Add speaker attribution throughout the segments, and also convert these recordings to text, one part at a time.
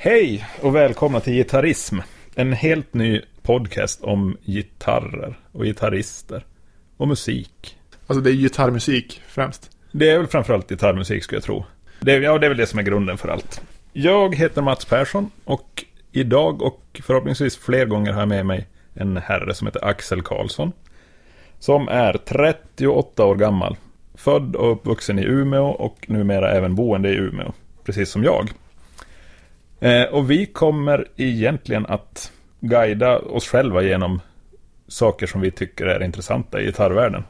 Speaker 1: Hej och välkomna till Gitarrism. En helt ny podcast om gitarrer och gitarrister och musik.
Speaker 2: Alltså det är gitarrmusik främst.
Speaker 1: Det är väl framförallt gitarrmusik skulle jag tro. Det, är- ja, det är väl det som är grunden för allt. Jag heter Mats Persson och idag och förhoppningsvis fler gånger har jag med mig en herre som heter Axel Karlsson. Som är 38 år gammal. Född och uppvuxen i Umeå och numera även boende i Umeå. Precis som jag. Eh, och vi kommer egentligen att guida oss själva genom saker som vi tycker är intressanta i gitarrvärlden.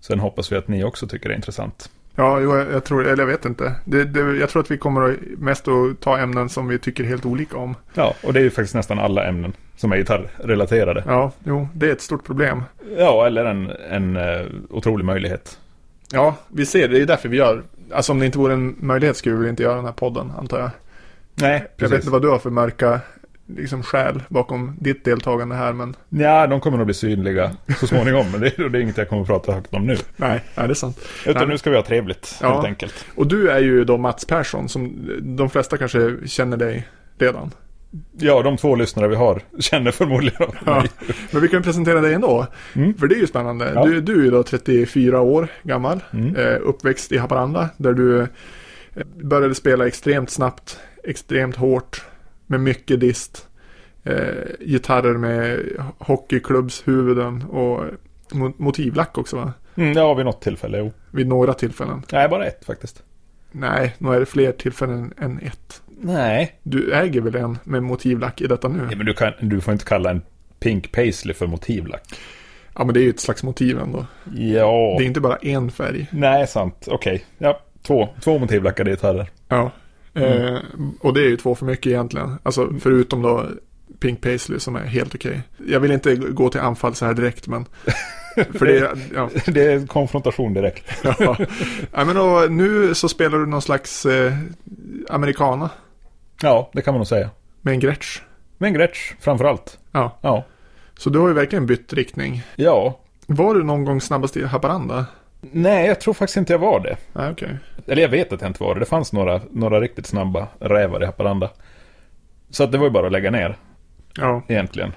Speaker 1: Sen hoppas vi att ni också tycker det är intressant.
Speaker 2: Ja, jo, jag jag tror, eller jag vet inte. Det, det, jag tror att vi kommer att- mest att ta ämnen som vi tycker helt olika om.
Speaker 1: Ja, och det är ju faktiskt nästan alla ämnen som är gitarrrelaterade.
Speaker 2: Ja, jo, det är ett stort problem.
Speaker 1: Ja, eller en, en eh, otrolig möjlighet.
Speaker 2: Ja, vi ser, det är därför vi gör. Alltså om det inte vore en möjlighet skulle vi väl inte göra den här podden, antar jag.
Speaker 1: Nej,
Speaker 2: Jag vet
Speaker 1: precis.
Speaker 2: inte vad du har för mörka liksom, skäl bakom ditt deltagande här, men...
Speaker 1: Nja, de kommer nog bli synliga så småningom, men det är, det är inget jag kommer att prata högt om nu.
Speaker 2: Nej, nej, det är sant.
Speaker 1: Utan
Speaker 2: Nej.
Speaker 1: nu ska vi ha trevligt,
Speaker 2: Ja.
Speaker 1: helt enkelt.
Speaker 2: Och du är ju då Mats Persson, som de flesta kanske känner dig redan.
Speaker 1: Ja, de två lyssnare vi har känner förmodligen om
Speaker 2: Ja, Mm.
Speaker 1: mig.
Speaker 2: men vi kan presentera dig ändå. För det är ju spännande.
Speaker 1: Ja.
Speaker 2: Du, du är ju då 34 år gammal.
Speaker 1: Mm.
Speaker 2: Eh, uppväxt i Haparanda. Där du eh, började spela extremt snabbt, extremt hårt. Med mycket dist. Eh, gitarrer med hockeyklubbshuvuden och eh, mo- motivlack också va?
Speaker 1: Mm, ja, vid något tillfälle, jo.
Speaker 2: Vid några tillfällen.
Speaker 1: Nej, bara ett faktiskt.
Speaker 2: Nej, nog är det fler tillfällen än ett.
Speaker 1: Nej.
Speaker 2: Du äger väl en med motivlack i detta nu?
Speaker 1: Ja, men du, kan, du får inte kalla en Pink Paisley för motivlack.
Speaker 2: Ja, men det är ju ett slags motiv ändå.
Speaker 1: Ja.
Speaker 2: Det är inte bara en färg.
Speaker 1: Nej, sant. Okej. Ja, två, två motivlackade gitarrer.
Speaker 2: Ja. Eh, och det är ju två för mycket egentligen. Alltså förutom då Pink Paisley som är helt okej. Jag vill inte gå till anfall så här direkt men. För det, ja.
Speaker 1: Det är konfrontation direkt.
Speaker 2: ja. ja men och nu så spelar du någon slags eh, americana
Speaker 1: Ja, det kan man nog säga.
Speaker 2: med en Gretsch.
Speaker 1: Men Gretsch, framför allt.
Speaker 2: Ja.
Speaker 1: Ja.
Speaker 2: Så du har ju verkligen bytt riktning.
Speaker 1: Ja.
Speaker 2: Var du någon gång snabbast i Haparanda?
Speaker 1: Nej, jag tror faktiskt inte jag var det.
Speaker 2: Nej okej.
Speaker 1: Eller jag vet att jag inte var det. Det fanns några, några riktigt snabba rävar i Haparanda. Så att det var ju bara att lägga ner,
Speaker 2: Ja.
Speaker 1: egentligen.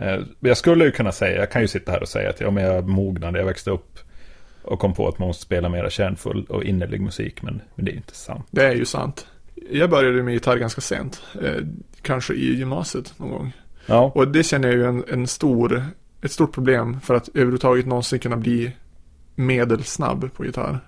Speaker 1: Eh, Jag skulle ju kunna säga, jag kan ju sitta här och säga att ja, men jag mognade, jag växte upp och kom på att man måste spela mera kärnfull och innerlig musik, men, men det är ju inte sant.
Speaker 2: Det är ju sant. Jag började med gitarr ganska sent. Eh, kanske i gymnasiet någon gång.
Speaker 1: Ja,
Speaker 2: Och det känner jag ju en, en stor, ett stort problem för att överhuvudtaget någonsin kunna bli medelsnabb på gitarr.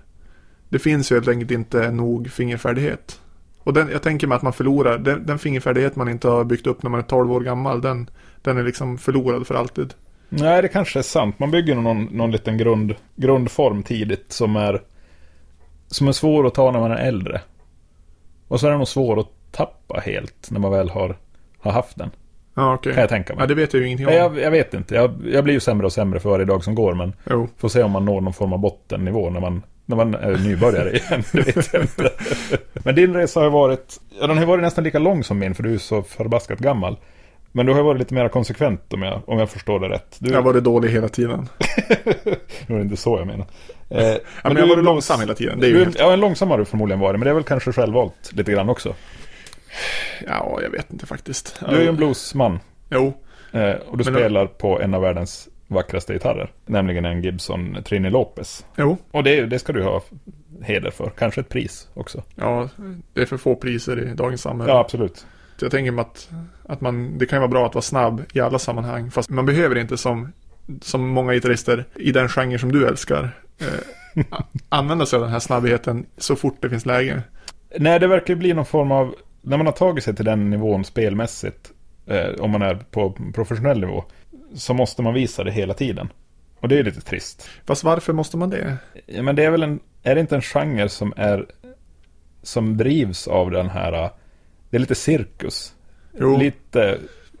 Speaker 2: Det finns ju helt enkelt inte nog fingerfärdighet. Och den, jag tänker mig att man förlorar, den, den fingerfärdighet man inte har byggt upp när man är 12 år gammal, den, den är liksom förlorad för alltid.
Speaker 1: Nej, det kanske är sant. Man bygger nog någon, någon liten grund, grundform tidigt som är, som är svår att ta när man är äldre. Och så är den nog svår att tappa helt när man väl har, har haft den.
Speaker 2: Ja, okej.
Speaker 1: Kan jag tänka
Speaker 2: Ja,
Speaker 1: mig.
Speaker 2: det vet jag ju ingenting om.
Speaker 1: Nej, jag, jag vet inte. Jag, jag blir ju sämre och sämre för varje dag som går. Men
Speaker 2: Jo.
Speaker 1: får se om man når någon form av bottennivå när man, när man är nybörjare igen. Det vet jag inte. Men din resa har ju varit, ja, den har ju varit nästan lika lång som min för du är så förbaskat gammal. Men du har ju varit lite mer konsekvent om jag, om jag förstår det rätt. Du,
Speaker 2: Jag har varit dålig hela tiden.
Speaker 1: det var inte så jag menar. Eh, men
Speaker 2: Ja, men
Speaker 1: du
Speaker 2: jag har
Speaker 1: är
Speaker 2: varit långsam hela tiden. Det är ju
Speaker 1: du,
Speaker 2: helt...
Speaker 1: Ja, en långsam har du förmodligen varit, men det är väl kanske självvalt lite grann också.
Speaker 2: Ja, jag vet inte faktiskt.
Speaker 1: Du är ju en bluesman
Speaker 2: Jo,
Speaker 1: eh, och du
Speaker 2: Men-
Speaker 1: spelar på en av världens vackraste gitarrer, nämligen en Gibson Trini Lopez.
Speaker 2: jo.
Speaker 1: Och det, är- det ska du ha heder för, kanske ett pris också.
Speaker 2: Ja, det är för få priser i dagens samhälle.
Speaker 1: Ja, absolut.
Speaker 2: Så jag tänker mig att, att man, det kan ju vara bra att vara snabb i alla sammanhang. Fast man behöver inte som, som många gitarrister i den genre som du älskar. Eh, a- använda sig av den här snabbheten så fort det finns läge.
Speaker 1: Nej, det verkar ju bli någon form av, när man har tagit sig till den nivån spelmässigt, eh, om man är på professionell nivå, så måste man visa det hela tiden. Och det är lite trist.
Speaker 2: Fast varför måste man det?
Speaker 1: Ja, men det är väl en, är det inte en genre som är, som drivs av den här, äh, det är lite cirkus.
Speaker 2: Jo,
Speaker 1: Lite,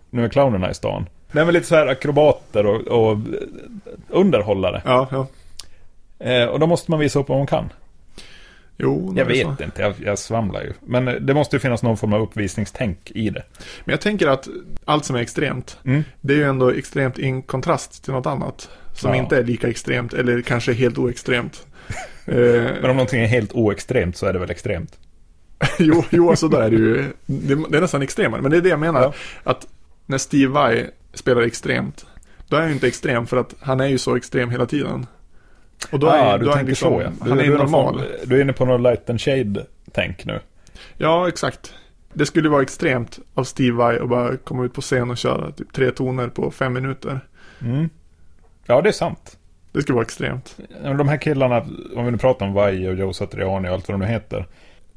Speaker 1: nu är clownerna i stan. Nej men lite så här akrobater och, och eh, underhållare.
Speaker 2: ja, ja.
Speaker 1: Eh, och då måste man visa upp vad man kan.
Speaker 2: Jo,
Speaker 1: Jag
Speaker 2: det är
Speaker 1: vet
Speaker 2: så.
Speaker 1: inte, jag, jag svamlar ju. Men eh, det måste ju finnas någon form av uppvisningstänk i det.
Speaker 2: Men jag tänker att allt som är extremt,
Speaker 1: Mm.
Speaker 2: det är ju ändå extremt i kontrast till något annat. Som
Speaker 1: Ja.
Speaker 2: inte är lika extremt eller kanske helt oextremt. eh,
Speaker 1: Men om någonting är helt oextremt så är det väl extremt.
Speaker 2: jo, jo, alltså där är det ju. Det, det är nästan extremare. Men det är det jag menar.
Speaker 1: Ja.
Speaker 2: Att när Steve Vai spelar extremt. Då är han ju inte extrem för att han är ju så extrem hela tiden. Och då är,
Speaker 1: ah,
Speaker 2: då
Speaker 1: du
Speaker 2: är han
Speaker 1: tänker
Speaker 2: liksom,
Speaker 1: så ja. Du,
Speaker 2: Han är
Speaker 1: du
Speaker 2: ju
Speaker 1: någon
Speaker 2: normal.
Speaker 1: form- Du är inne på något light and shade-tänk nu.
Speaker 2: Ja, exakt. Det skulle vara extremt av Steve Vai att bara komma ut på scen och köra typ tre toner på fem minuter.
Speaker 1: Mm. Ja, det är sant.
Speaker 2: Det skulle vara extremt.
Speaker 1: Ja, men De här killarna, om vi nu pratar om Vaje och Joe Satriani och allt vad de nu heter.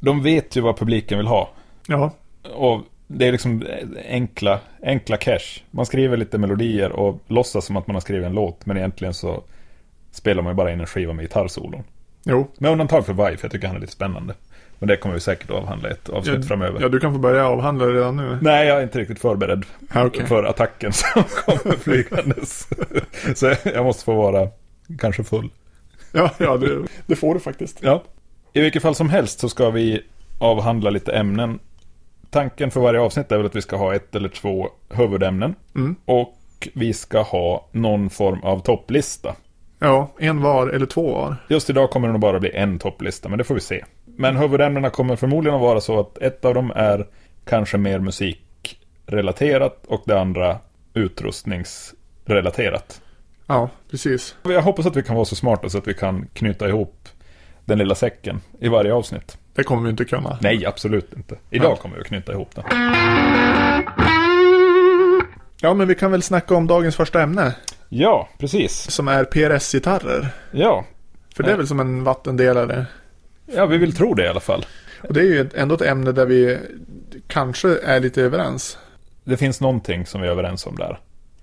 Speaker 1: De vet ju vad publiken vill ha.
Speaker 2: Ja,
Speaker 1: Och det är liksom enkla, enkla cash. Man skriver lite melodier och låtsas som att man har skrivit en låt. Men egentligen så spelar man ju bara in en skiva med gitarrsolon.
Speaker 2: jo.
Speaker 1: Med undantag för Vaje, för jag tycker han är lite spännande. Men det kommer vi säkert att avhandla i ett avsnitt
Speaker 2: Ja,
Speaker 1: framöver.
Speaker 2: Ja, du kan få börja avhandla det redan nu.
Speaker 1: Nej, jag är inte riktigt förberedd
Speaker 2: Ja, okej.
Speaker 1: för attacken som kommer flygandes. så jag måste få vara kanske full.
Speaker 2: Ja, ja det, det får du faktiskt.
Speaker 1: Ja. I vilket fall som helst så ska vi avhandla lite ämnen. Tanken för varje avsnitt är väl att vi ska ha ett eller två huvudämnen.
Speaker 2: Mm.
Speaker 1: Och vi ska ha någon form av topplista.
Speaker 2: Ja, en var eller två var.
Speaker 1: Just idag kommer det nog bara bli en topplista, men det får vi se. Men huvudämnena kommer förmodligen att vara så att ett av dem är kanske mer musikrelaterat och det andra utrustningsrelaterat.
Speaker 2: Ja, precis.
Speaker 1: Jag hoppas att vi kan vara så smarta så att vi kan knyta ihop den lilla säcken i varje avsnitt.
Speaker 2: Det kommer vi inte kunna.
Speaker 1: Nej, absolut inte. Idag
Speaker 2: Nej.
Speaker 1: kommer vi att knyta ihop den.
Speaker 2: Ja, men vi kan väl snacka om dagens första ämne.
Speaker 1: Ja, precis.
Speaker 2: Som är PRS-gitarrer.
Speaker 1: Ja.
Speaker 2: För det är väl som en vattendelare.
Speaker 1: ja, vi vill tro det i alla fall.
Speaker 2: Och det är ju ett- ändå ett ämne där vi kanske är lite överens.
Speaker 1: Det finns någonting som vi är överens om där.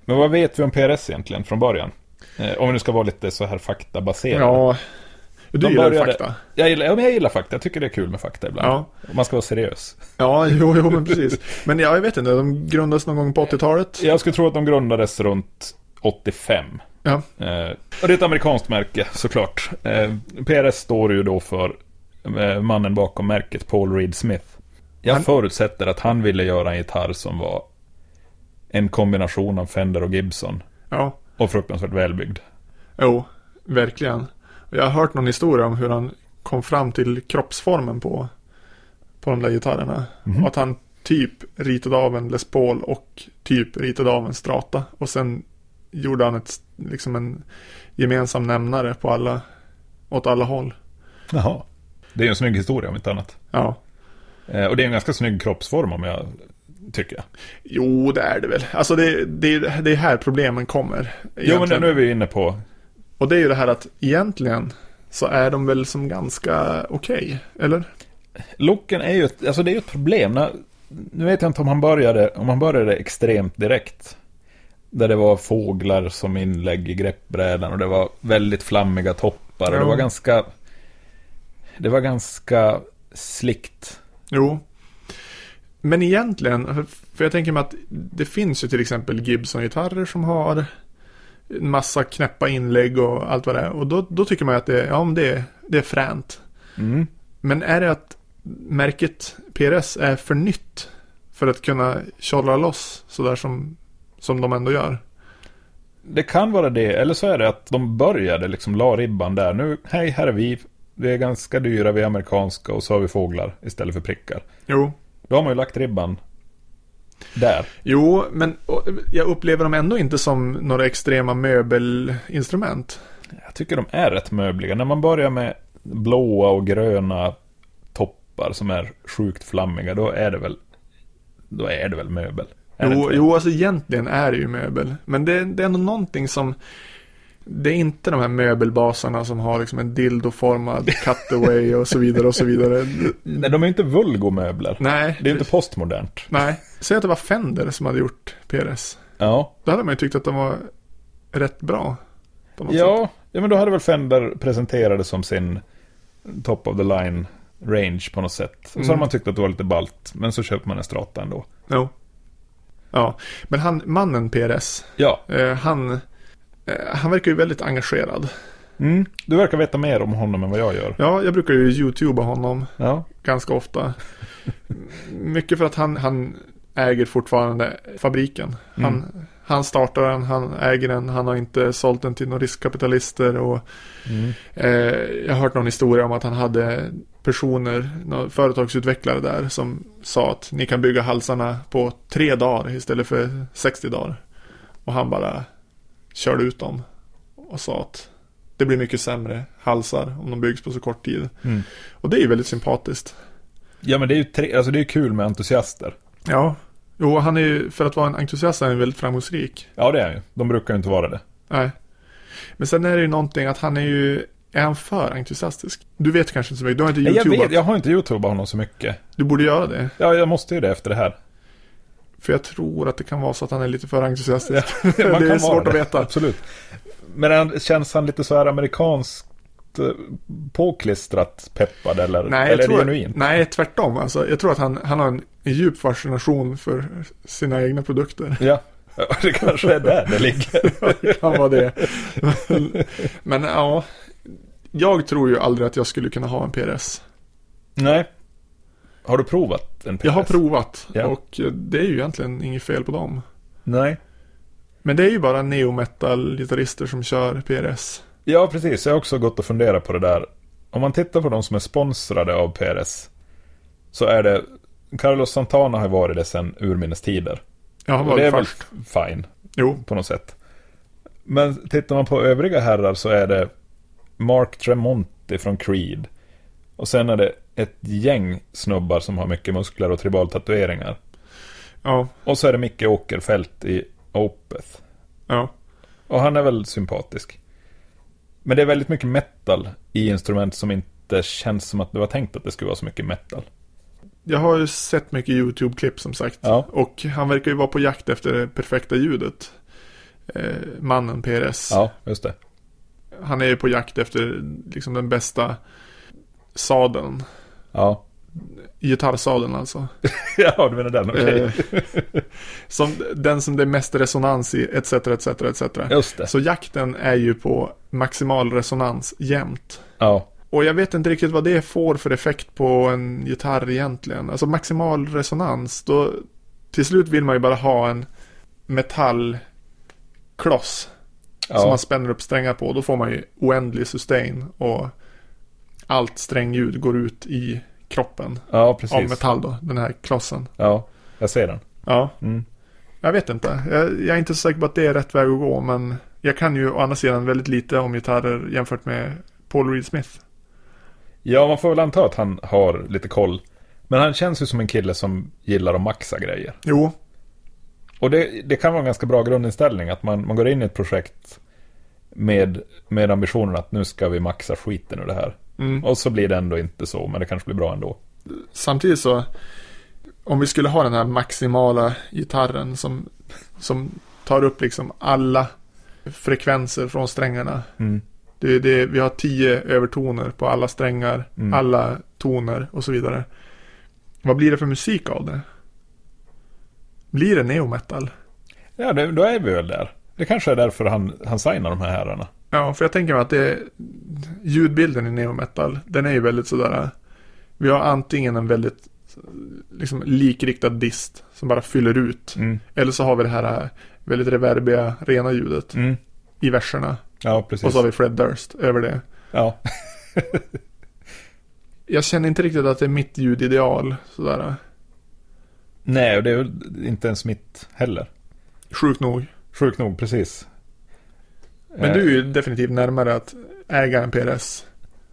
Speaker 1: Men vad vet vi om PRS egentligen från början? Eh, om vi nu ska vara lite så här faktabaserade.
Speaker 2: Ja. Du
Speaker 1: De
Speaker 2: gillar ju
Speaker 1: började-
Speaker 2: fakta.
Speaker 1: Jag, gillar, ja, men jag gillar fakta. Jag tycker det är kul med fakta ibland.
Speaker 2: Ja.
Speaker 1: Och Man ska vara seriös.
Speaker 2: Ja, jo, jo, men precis. Men ja, jag vet inte, de grundades någon gång på 80-talet.
Speaker 1: Jag skulle tro att de grundades runt 85.
Speaker 2: Ja,
Speaker 1: Eh, och det är ett amerikanskt märke såklart. Eh, PRS står ju då för eh, mannen bakom märket, Paul Reed Smith. Jag
Speaker 2: Han-
Speaker 1: förutsätter att han ville göra en gitarr som var en kombination av Fender och Gibson.
Speaker 2: ja,
Speaker 1: Och fruktansvärt välbyggd.
Speaker 2: jo, verkligen. Och Jag har hört någon historia om hur han kom fram till kroppsformen på, på de där gitarrerna.
Speaker 1: Mhm.
Speaker 2: Och att han typ ritade av en Les Paul och typ ritade av en Strata. Och sen gjorde han ett, liksom en gemensam nämnare på alla, åt alla håll.
Speaker 1: Jaha. Det är ju en snygg historia om inte annat.
Speaker 2: Ja.
Speaker 1: Eh, och det är en ganska snygg kroppsform om jag tycker jag.
Speaker 2: Jo, det är det väl. Alltså det, det, det är här problemen kommer.
Speaker 1: Jo men
Speaker 2: egentligen.
Speaker 1: nu är vi inne på...
Speaker 2: Och det är ju det här att egentligen så är de väl som ganska okej, eller?
Speaker 1: Looken är ju ett, alltså det är ju ett problem. När, nu vet jag inte om han började, om han började extremt direkt. Där det var fåglar som inlägg i greppbrädan och det var väldigt flammiga toppar och det
Speaker 2: Ja.
Speaker 1: var ganska... Det var ganska slickt.
Speaker 2: Jo. Men egentligen, för- för jag tänker mig att det finns ju till exempel Gibson-gitarrer som har en massa knäppa inlägg och allt vad det är. Och då, då tycker man ju att det, ja, men det, det är fränt.
Speaker 1: Mm.
Speaker 2: Men är det att märket PRS är för nytt för att kunna tjollra loss sådär som, som de ändå gör?
Speaker 1: Det kan vara det, eller så är det att de började liksom la ribban där. Nu, hej, här är vi. Vi är ganska dyra, vi är amerikanska och så har vi fåglar istället för prickar.
Speaker 2: Jo.
Speaker 1: Då har man ju lagt ribban där.
Speaker 2: Jo, men och, jag upplever dem ändå inte som några extrema möbelinstrument.
Speaker 1: Jag tycker de är rätt möbliga. När man börjar med blåa och gröna toppar som är sjukt flammiga, då är det väl, då är det väl möbel? Är det
Speaker 2: Jo,
Speaker 1: inte det?
Speaker 2: jo, alltså egentligen är det ju möbel. Men det, det är ändå någonting som... Det är inte de här möbelbasarna som har liksom en dildoformad cutaway och så vidare och så vidare.
Speaker 1: Nej, de är ju inte vulgomöbler.
Speaker 2: Nej,
Speaker 1: Det är ju inte postmodernt.
Speaker 2: nej. Säg att det var Fender som hade gjort PRS.
Speaker 1: Ja.
Speaker 2: Då hade man ju tyckt att de var rätt bra. På något sätt.
Speaker 1: Ja, ja, men då hade väl Fender presenterat det som sin top of the line range på något sätt. Och så hade
Speaker 2: Mm.
Speaker 1: man tyckt att det var lite balt men så köper man en strata ändå.
Speaker 2: Jo. Ja, men han, mannen PRS,
Speaker 1: Ja,
Speaker 2: eh, han, eh, han verkar ju väldigt engagerad.
Speaker 1: mm. du verkar veta mer om honom än vad jag gör.
Speaker 2: Ja, jag brukar ju youtuba honom
Speaker 1: Ja,
Speaker 2: ganska ofta. Mycket för att han, han äger fortfarande fabriken. Han, han startar den, han äger den, han har inte sålt den till några riskkapitalister. Och,
Speaker 1: mm.
Speaker 2: eh, jag har hört någon historia om att han hade personer, några företagsutvecklare där som sa att ni kan bygga halsarna på tre dagar istället för 60 dagar. Och han bara körde ut dem och sa att det blir mycket sämre halsar om de byggs på så kort tid.
Speaker 1: Mm.
Speaker 2: Och det är ju väldigt sympatiskt.
Speaker 1: Ja men det är ju tre, alltså det är ju kul med entusiaster.
Speaker 2: Ja, jo han är ju, för att vara en entusiast är han väldigt framgångsrik.
Speaker 1: Ja det är han ju. De brukar ju inte vara det.
Speaker 2: Nej. Men sen är det ju någonting att han är ju, är han för entusiastisk? Du vet kanske inte så mycket, du har inte
Speaker 1: Nej, jag, vet,
Speaker 2: youtubat.
Speaker 1: jag har inte youtubat honom så mycket.
Speaker 2: Du borde göra det.
Speaker 1: Ja, jag måste ju det efter det här.
Speaker 2: För jag tror att det kan vara så att han är lite för entusiastisk.
Speaker 1: Man
Speaker 2: det är
Speaker 1: vara
Speaker 2: svårt att veta.
Speaker 1: Absolut. Men han, känns han lite så här amerikanskt eh, påklistrat peppad eller,
Speaker 2: Nej,
Speaker 1: eller
Speaker 2: jag tror,
Speaker 1: genuint?
Speaker 2: nej, tvärtom. Alltså, jag tror att han, han har en, en djup fascination för sina egna produkter.
Speaker 1: Ja, Ja, det kanske är där det ligger.
Speaker 2: kan vara det. Men, men ja, jag tror ju aldrig att jag skulle kunna ha en PRS.
Speaker 1: nej. Har du provat en PRS?
Speaker 2: Jag har provat
Speaker 1: Ja.
Speaker 2: och eh, det är ju egentligen inget fel på dem.
Speaker 1: Nej.
Speaker 2: Men det är ju bara neometal-gitarrister som kör PRS.
Speaker 1: Ja, precis. Jag har också gått och funderat på det där. Om man tittar på de som är sponsrade av PRS så är det Carlos Santana har ju varit det sedan urminnes tider.
Speaker 2: Ja, han
Speaker 1: Och
Speaker 2: var
Speaker 1: det är
Speaker 2: väl
Speaker 1: väl
Speaker 2: först.
Speaker 1: fine
Speaker 2: Jo,
Speaker 1: på något sätt. Men tittar man på övriga herrar så är det Mark Tremonti från Creed. Och sen är det ett gäng snubbar som har mycket muskler och tribaltatueringar.
Speaker 2: ja,
Speaker 1: Och så är det Micke Åkerfeldt i Opeth.
Speaker 2: ja.
Speaker 1: Och han är väl sympatisk. Men det är väldigt mycket metal i instrument som inte känns som att det var tänkt att det skulle vara så mycket metal.
Speaker 2: Jag har ju sett mycket YouTube-klipp som sagt.
Speaker 1: Ja.
Speaker 2: Och han verkar ju vara på jakt efter det perfekta ljudet. Eh, mannen PRS.
Speaker 1: Ja, just det.
Speaker 2: Han är ju på jakt efter liksom den bästa sadeln.
Speaker 1: Ja,
Speaker 2: Gitarrsadeln alltså.
Speaker 1: ja du menar den, okej.
Speaker 2: Eh, som, den som det är mest resonans i, etc, etc, etc.
Speaker 1: Just det.
Speaker 2: Så jakten är ju på maximal resonans jämt.
Speaker 1: Ja,
Speaker 2: Och jag vet inte riktigt vad det får för effekt på en gitarr egentligen. Alltså maximal resonans, då till slut vill man ju bara ha en metallkloss som
Speaker 1: ja.
Speaker 2: man spänner upp strängar på. Då får man ju oändlig sustain och allt strängljud går ut i kroppen
Speaker 1: ja
Speaker 2: av
Speaker 1: precis.
Speaker 2: metall då, den här klossen.
Speaker 1: Ja, jag ser den.
Speaker 2: Ja,
Speaker 1: Mm.
Speaker 2: jag vet inte. Jag, jag är inte så säker på att det är rätt väg att gå, men jag kan ju å andra sidan väldigt lite om gitarrer jämfört med Paul Reed Smith.
Speaker 1: Ja, man får väl anta att han har lite koll. Men han känns ju som en kille som gillar att maxa grejer.
Speaker 2: Jo,
Speaker 1: Och det, det kan vara en ganska bra grundinställning att man, man går in i ett projekt med, med ambitionen att nu ska vi maxa skiten ur det här.
Speaker 2: mm.
Speaker 1: Och så blir det ändå inte så, men det kanske blir bra ändå.
Speaker 2: samtidigt så, om vi skulle ha den här maximala gitarren som, som tar upp liksom alla frekvenser från strängarna.
Speaker 1: Mm.
Speaker 2: Det, är det, vi har tio övertoner på alla strängar,
Speaker 1: Mm.
Speaker 2: alla toner och så vidare. Vad blir det för musik av det? Blir det neometal?
Speaker 1: Ja, det, då är vi väl där. Det kanske är därför han, han signar de här herrarna.
Speaker 2: Ja, för jag tänker mig att det, ljudbilden i neometal, den är ju väldigt sådär. Vi har antingen en väldigt liksom, likriktad dist som bara fyller ut.
Speaker 1: Mm.
Speaker 2: Eller så har vi det här eh, väldigt reverbiga, rena ljudet
Speaker 1: Mm.
Speaker 2: i verserna.
Speaker 1: Ja, precis.
Speaker 2: Och så har vi Fred Durst över det.
Speaker 1: Ja.
Speaker 2: Jag känner inte riktigt att det är mitt ljudideal. Sådär. eh,
Speaker 1: Nej, och det är väl inte ens mitt heller.
Speaker 2: Sjukt nog.
Speaker 1: Sjukt nog, precis.
Speaker 2: Men du är ju definitivt närmare att äga en PRS.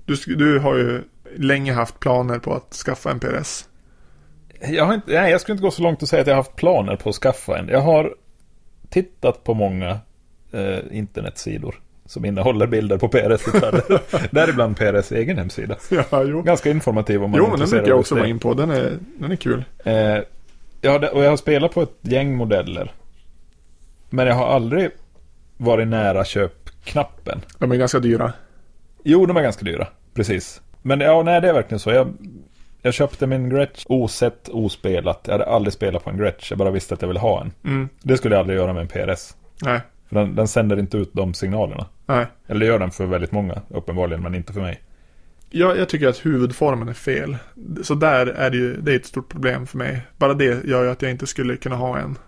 Speaker 2: Du, sk- du har ju länge haft planer på att skaffa en PRS.
Speaker 1: Eh, Jag, har inte, nej, jag skulle inte gå så långt och säga att jag har haft planer på att skaffa en. Jag har tittat på många eh, internetsidor som innehåller bilder på PRS gitarrer. Däribland PRS egen hemsida.
Speaker 2: Ja, jo.
Speaker 1: Ganska informativ om man
Speaker 2: Jo,
Speaker 1: är
Speaker 2: men den
Speaker 1: intresserad
Speaker 2: brukar jag
Speaker 1: av
Speaker 2: också
Speaker 1: det.
Speaker 2: vara in på. Den är, den är kul.
Speaker 1: Eh, ja, det- och jag har spelat på ett gäng modeller. Men jag har aldrig varit nära köpknappen.
Speaker 2: De är ganska dyra.
Speaker 1: Jo, de är ganska dyra. Precis. Men ja, nej, det är verkligen så. Jag, jag köpte min Gretsch osett, ospelat. Jag hade aldrig spelat på en Gretsch. Jag bara visste att jag ville ha en.
Speaker 2: Mm.
Speaker 1: Det skulle jag aldrig göra med en PRS.
Speaker 2: Nej,
Speaker 1: För den, den sänder inte ut de signalerna.
Speaker 2: nej.
Speaker 1: Eller det gör den för väldigt många, uppenbarligen, men inte för mig.
Speaker 2: Jag, jag tycker att huvudformen är fel. Så där är det ju, det är ett stort problem för mig. Bara det gör ju att jag inte skulle kunna ha en.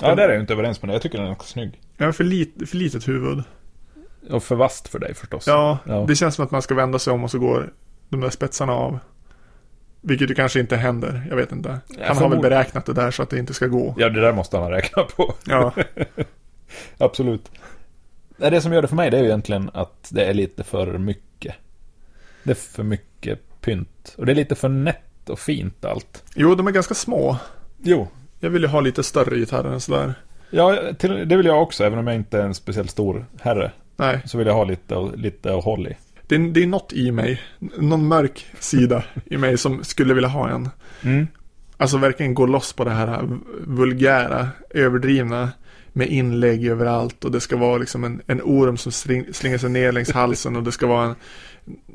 Speaker 1: Ja, där är jag inte överens med dig. Jag tycker den är ganska snygg.
Speaker 2: Jag har för, lit, för litet huvud.
Speaker 1: Och för vasst för dig förstås.
Speaker 2: Ja,
Speaker 1: Ja.
Speaker 2: det känns som att man ska vända sig om och så går de där spetsarna av. Vilket ju kanske inte händer, jag vet inte.
Speaker 1: Ja,
Speaker 2: Han har väl
Speaker 1: förmodligen.
Speaker 2: beräknat det där så att det inte ska gå.
Speaker 1: Ja, det där måste han räkna på.
Speaker 2: Ja,
Speaker 1: Absolut. Nej, Det som gör det för mig det är ju egentligen att det är lite för mycket. Det är för mycket pynt. Och det är lite för nätt och fint allt.
Speaker 2: jo de är ganska små.
Speaker 1: Jo.
Speaker 2: Jag vill ju ha lite större gitarrer än sådär.
Speaker 1: Ja, till, det vill jag också. Även om jag inte är en speciellt stor herre.
Speaker 2: Nej,
Speaker 1: Så vill jag ha lite, lite att hålla i.
Speaker 2: det är, det är något i mig. n- Någon mörk sida i mig som skulle vilja ha en.
Speaker 1: Mm.
Speaker 2: Alltså verkligen gå loss på det här vulgära, överdrivna med inlägg överallt och det ska vara liksom en, en orm som sling, slingar sig ner längs halsen och det ska vara en,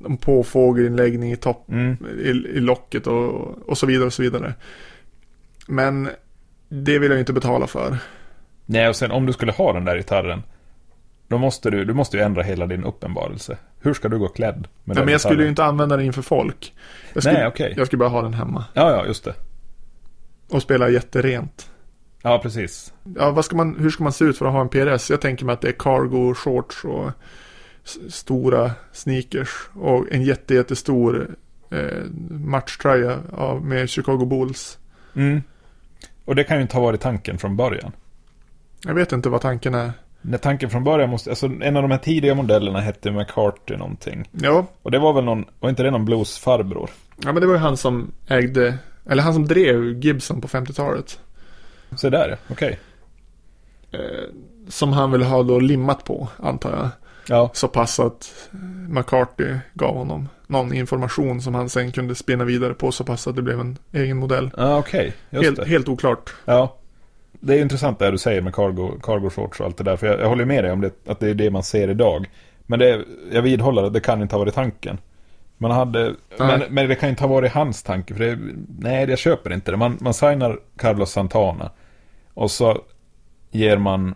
Speaker 2: en påfågelinläggning i topp
Speaker 1: Mm.
Speaker 2: i, i locket och, och så vidare och så vidare. Men det vill jag ju inte betala för.
Speaker 1: Nej, och sen om du skulle ha den där gitarren. Då måste du, du måste ju ändra hela din uppenbarelse. Hur ska du gå klädd? Med
Speaker 2: Nej,
Speaker 1: den
Speaker 2: men jag skulle
Speaker 1: gitarren?
Speaker 2: ju inte använda den inför folk. Jag skulle,
Speaker 1: Nej, okej.
Speaker 2: jag skulle bara ha den hemma
Speaker 1: Ja, ja, just det.
Speaker 2: och spela jätterent.
Speaker 1: Ja, precis.
Speaker 2: Ja, vad ska man, hur ska man se ut för att ha en PRS? Jag tänker mig att det är cargo shorts och s- stora sneakers och en jätte, jättestor eh, matchtröja av, med Chicago Bulls.
Speaker 1: Mm. Och det kan ju inte ha varit tanken från början.
Speaker 2: Jag vet inte vad tanken är.
Speaker 1: När tanken från början måste, alltså en av de här tidiga modellerna hette McCarthy någonting.
Speaker 2: Ja,
Speaker 1: Och det var väl någon, var inte det någon bluesfarbror?
Speaker 2: ja men det var ju han som ägde, eller han som drev Gibson på 50-talet.
Speaker 1: Så där, okej.
Speaker 2: Eh, som han ville ha då limmat på, antar jag.
Speaker 1: Ja.
Speaker 2: Så pass att eh, McCarthy gav honom någon information som han sen kunde spinna vidare på så pass att det blev en egen modell.
Speaker 1: Ja, okej. Just
Speaker 2: Helt,
Speaker 1: det.
Speaker 2: helt oklart.
Speaker 1: Ja. Det är ju intressant det här du säger med cargo, cargo shorts och allt det där. För jag, jag håller med dig om det, att det är det man ser idag. Men det, jag vidhåller att det kan inte ha varit tanken. Man hade, men,
Speaker 2: Nej.
Speaker 1: men det kan inte ha varit hans tanke. För det, nej, jag köper inte det. Man, man signar Carlos Santana. Och så ger man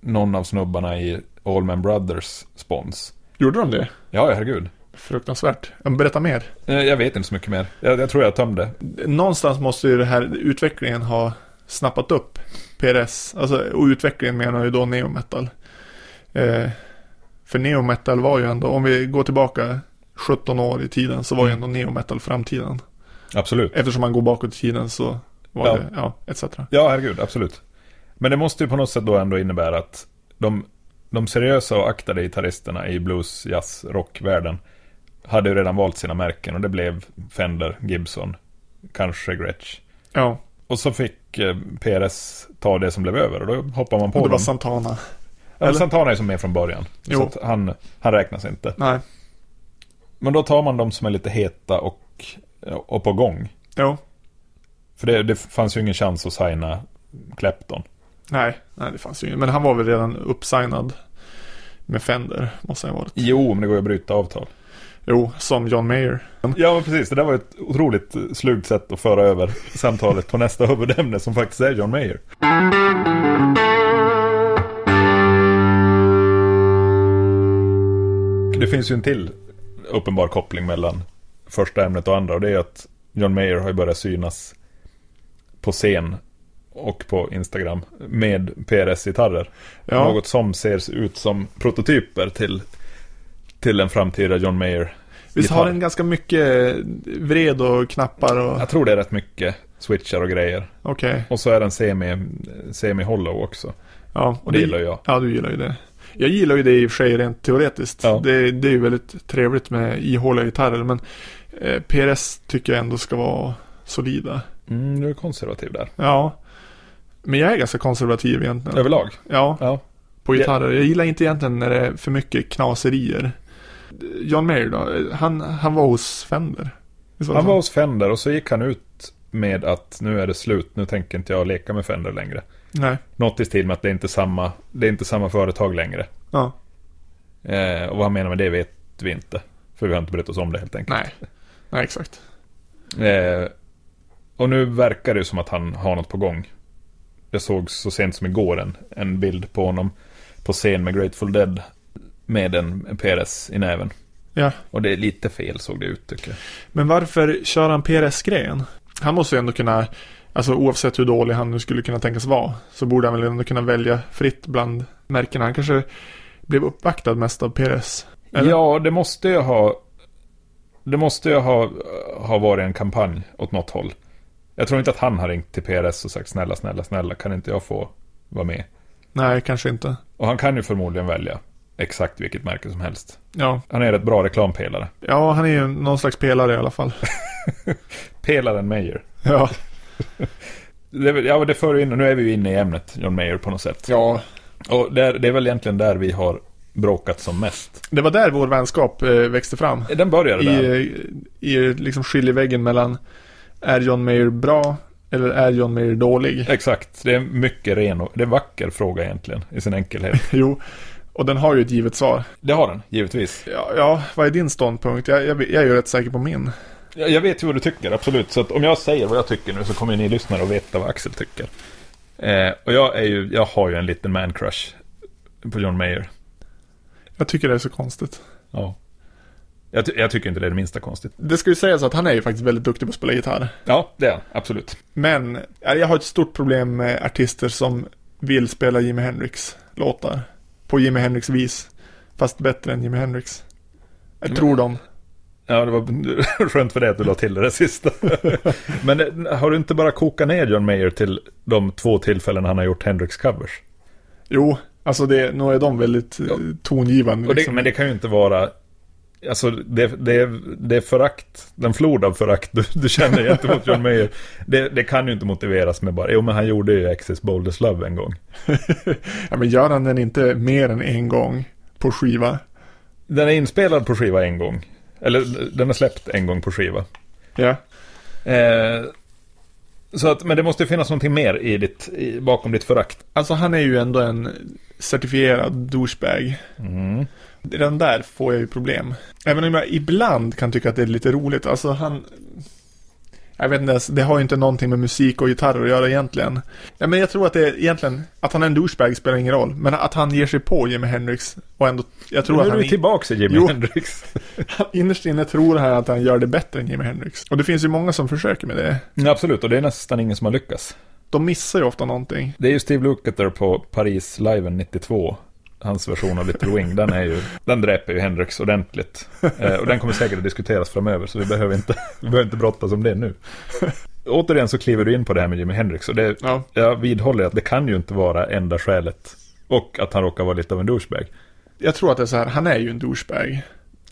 Speaker 1: någon av snubbarna i Allman Brothers spons.
Speaker 2: Gjorde de det?
Speaker 1: Ja, ja, herregud.
Speaker 2: Fruktansvärt. Men Berätta mer.
Speaker 1: Eh, Jag vet inte så mycket mer. Jag, jag tror jag tömde.
Speaker 2: Någonstans måste ju den här utvecklingen ha snappat upp PRS. Alltså, och utvecklingen menar ju då neometal. Eh, för neometal var ju ändå, om vi går tillbaka 17 år i tiden så var ju ändå neometal framtiden.
Speaker 1: Absolut.
Speaker 2: Eftersom man går bakåt i tiden så var
Speaker 1: Ja.
Speaker 2: det, ja, etc.
Speaker 1: Ja, herregud, absolut. Men det måste ju på något sätt då ändå innebära att de, de seriösa och aktade gitarristerna i blues, jazz, rockvärlden hade ju redan valt sina märken och det blev Fender, Gibson, kanske Gretsch.
Speaker 2: Ja,
Speaker 1: Och så fick eh, PRS ta det som blev över och då hoppar man på
Speaker 2: och det
Speaker 1: dem.
Speaker 2: var Santana.
Speaker 1: Ja, men
Speaker 2: eller?
Speaker 1: Santana är som med från början.
Speaker 2: Jo.
Speaker 1: Så att han, han räknas inte.
Speaker 2: Nej,
Speaker 1: Men då tar man de som är lite heta och, eh, och på gång.
Speaker 2: jo,
Speaker 1: För det, det fanns ju ingen chans att signa Clapton.
Speaker 2: nej, nej det fanns ju ingen. Men han var väl redan uppsignad med Fender, måste han ha varit.
Speaker 1: Jo, men det går ju att bryta avtal.
Speaker 2: Jo, som John Mayer.
Speaker 1: Ja, men precis. Det där var ett otroligt eh, slugt sätt att föra över samtalet på nästa huvudämne som faktiskt är John Mayer. Det finns ju en till uppenbar koppling mellan första ämnet och andra och det är att John Mayer har ju börjat synas på scen och på Instagram med PRS-gitarrer.
Speaker 2: Ja.
Speaker 1: Något som ser ut som prototyper till, till en framtida John Mayer.
Speaker 2: Visst
Speaker 1: gitarr.
Speaker 2: har den ganska mycket eh, vred och knappar och...
Speaker 1: Jag tror det är rätt mycket switchar och grejer.
Speaker 2: Okej,
Speaker 1: Och så är den semi, semi hollow också.
Speaker 2: ja.
Speaker 1: Och det gillar jag.
Speaker 2: Ja, du gillar ju det. Jag gillar ju det i och för sig rent teoretiskt.
Speaker 1: Ja.
Speaker 2: Det, det är ju väldigt trevligt med ihåliga gitarrer men eh, PRS tycker jag ändå ska vara solida.
Speaker 1: Mm, du är konservativ där.
Speaker 2: Ja. Men jag är ganska konservativ egentligen.
Speaker 1: Överlag.
Speaker 2: Ja,
Speaker 1: Ja.
Speaker 2: på
Speaker 1: Ja.
Speaker 2: gitarrer. Jag gillar inte egentligen när det är för mycket knaserier. John Mayer då? Han, han var hos Fender. Visst
Speaker 1: Han
Speaker 2: det
Speaker 1: var
Speaker 2: så?
Speaker 1: hos Fender och så gick han ut med att nu är det slut, nu tänker inte jag leka med Fender längre.
Speaker 2: Nej.
Speaker 1: Något i stil med att det är inte samma, det är inte samma företag längre.
Speaker 2: Ja.
Speaker 1: Eh, och vad han menar med det vet vi inte. För vi har inte brytt oss om det helt enkelt.
Speaker 2: Nej. Nej, exakt.
Speaker 1: Eh, och nu verkar det ju som att han har något på gång. Jag såg så sent som igår en, en bild på honom på scen med Grateful Dead med en en PRS i näven.
Speaker 2: Ja.
Speaker 1: Och det är lite fel såg det ut tycker jag.
Speaker 2: Men varför kör han PRS-grejen? Han måste ju ändå kunna, alltså oavsett hur dålig han nu skulle kunna tänkas vara, så borde han väl ändå kunna välja fritt bland märkena. Han kanske blev uppvaktad mest av PRS. Eller?
Speaker 1: Ja, det måste ju ha Det måste ju ha, ha varit en kampanj åt något håll. Jag tror inte att han har ringt till PRS och sagt snälla, snälla, snälla, kan inte jag få vara med?
Speaker 2: Nej, kanske inte.
Speaker 1: Och han kan ju förmodligen välja exakt vilket märke som helst.
Speaker 2: Ja,
Speaker 1: Han är rätt bra reklampelare.
Speaker 2: ja han är ju någon slags pelare i alla fall.
Speaker 1: Pelaren Mayer.
Speaker 2: Ja,
Speaker 1: Det, är väl- ja, det för vi in, och nu är vi ju inne i ämnet John Mayer på något sätt.
Speaker 2: ja.
Speaker 1: Och där, det är väl egentligen där vi har bråkat som mest.
Speaker 2: Det var där vår vänskap eh, växte fram.
Speaker 1: Den började
Speaker 2: I,
Speaker 1: där.
Speaker 2: eh, i liksom skiljeväggen mellan är John Mayer bra eller är John Mayer dålig?
Speaker 1: Exakt, det är en mycket ren och det är en vacker fråga egentligen i sin enkelhet.
Speaker 2: Jo, och den har ju ett givet svar.
Speaker 1: Det har den, givetvis.
Speaker 2: Ja, ja vad är din ståndpunkt? Jag, jag, jag är ju rätt säker på min.
Speaker 1: Jag, jag vet ju vad du tycker, absolut. Så att om jag säger vad jag tycker nu så kommer ju ni lyssnare att veta vad Axel tycker. Eh, och jag, är ju, jag har ju en liten man-crush på John Mayer.
Speaker 2: Jag tycker det är så konstigt.
Speaker 1: Ja. Jag, ty- jag tycker inte det är det minsta konstigt.
Speaker 2: Det ska ju sägas att han är ju faktiskt väldigt duktig på att spela gitarr.
Speaker 1: Ja, det är han, absolut.
Speaker 2: Men ja, jag har ett stort problem med artister som vill spela Jimi Hendrix låtar. På Jimi Hendrix vis. Fast bättre än Jimi Hendrix. Jag
Speaker 1: Mm.
Speaker 2: tror de.
Speaker 1: Ja, det var skönt för dig att du la till det där sista. Men eh, har du inte bara kokat ner John Mayer till de två tillfällen han har gjort Hendrix covers?
Speaker 2: Jo, alltså det, nog är de väldigt eh, tongivande.
Speaker 1: Och det,
Speaker 2: Liksom.
Speaker 1: men det kan ju inte vara... Alltså det, det, det är förakt, den flod av förakt du, du känner gentemot John Mayer. Det, det kan ju inte motiveras med bara, jo men han gjorde ju Access Boulders Love en gång.
Speaker 2: Ja, men gör han den inte mer än en gång på skiva?
Speaker 1: Den är inspelad på skiva en gång. Eller den är släppt en gång på skiva.
Speaker 2: Ja.
Speaker 1: Eh, så att, men det måste ju finnas någonting mer i ditt, i, bakom ditt förakt.
Speaker 2: Alltså han är ju ändå en certifierad douchebag.
Speaker 1: Mm.
Speaker 2: Den där får jag ju problem. Även om jag ibland kan tycka att det är lite roligt. Alltså han... Jag vet inte ens, det har ju inte någonting med musik och gitarr att göra egentligen. Ja, men jag tror att det är egentligen, att han är en douchebag spelar ingen roll. Men att han ger sig på Jimi Hendrix och ändå, jag tror
Speaker 1: nu
Speaker 2: att
Speaker 1: är typ-
Speaker 2: han
Speaker 1: du
Speaker 2: i-
Speaker 1: tillbaka i Jimi
Speaker 2: Jo.
Speaker 1: Hendrix.
Speaker 2: innerst inne tror han att han gör det bättre än Jimi Hendrix. Och det finns ju många som försöker med det.
Speaker 1: Ja, absolut, och det är nästan ingen som har lyckats.
Speaker 2: De missar ju ofta någonting.
Speaker 1: Det är ju Steve Lukather på Paris Liven 92. Hans version av Little Wing, den, är ju, den dräper ju Hendrix ordentligt. Eh, och den kommer säkert att diskuteras framöver, så vi behöver inte, vi behöver inte brottas om det nu. Återigen så kliver du in på det här med Jimi Hendrix, och det,
Speaker 2: Ja.
Speaker 1: jag vidhåller att det kan ju inte vara enda skälet. Och att han råkar vara lite av en douchebag.
Speaker 2: Jag tror att det är så här, han är ju en douchebag.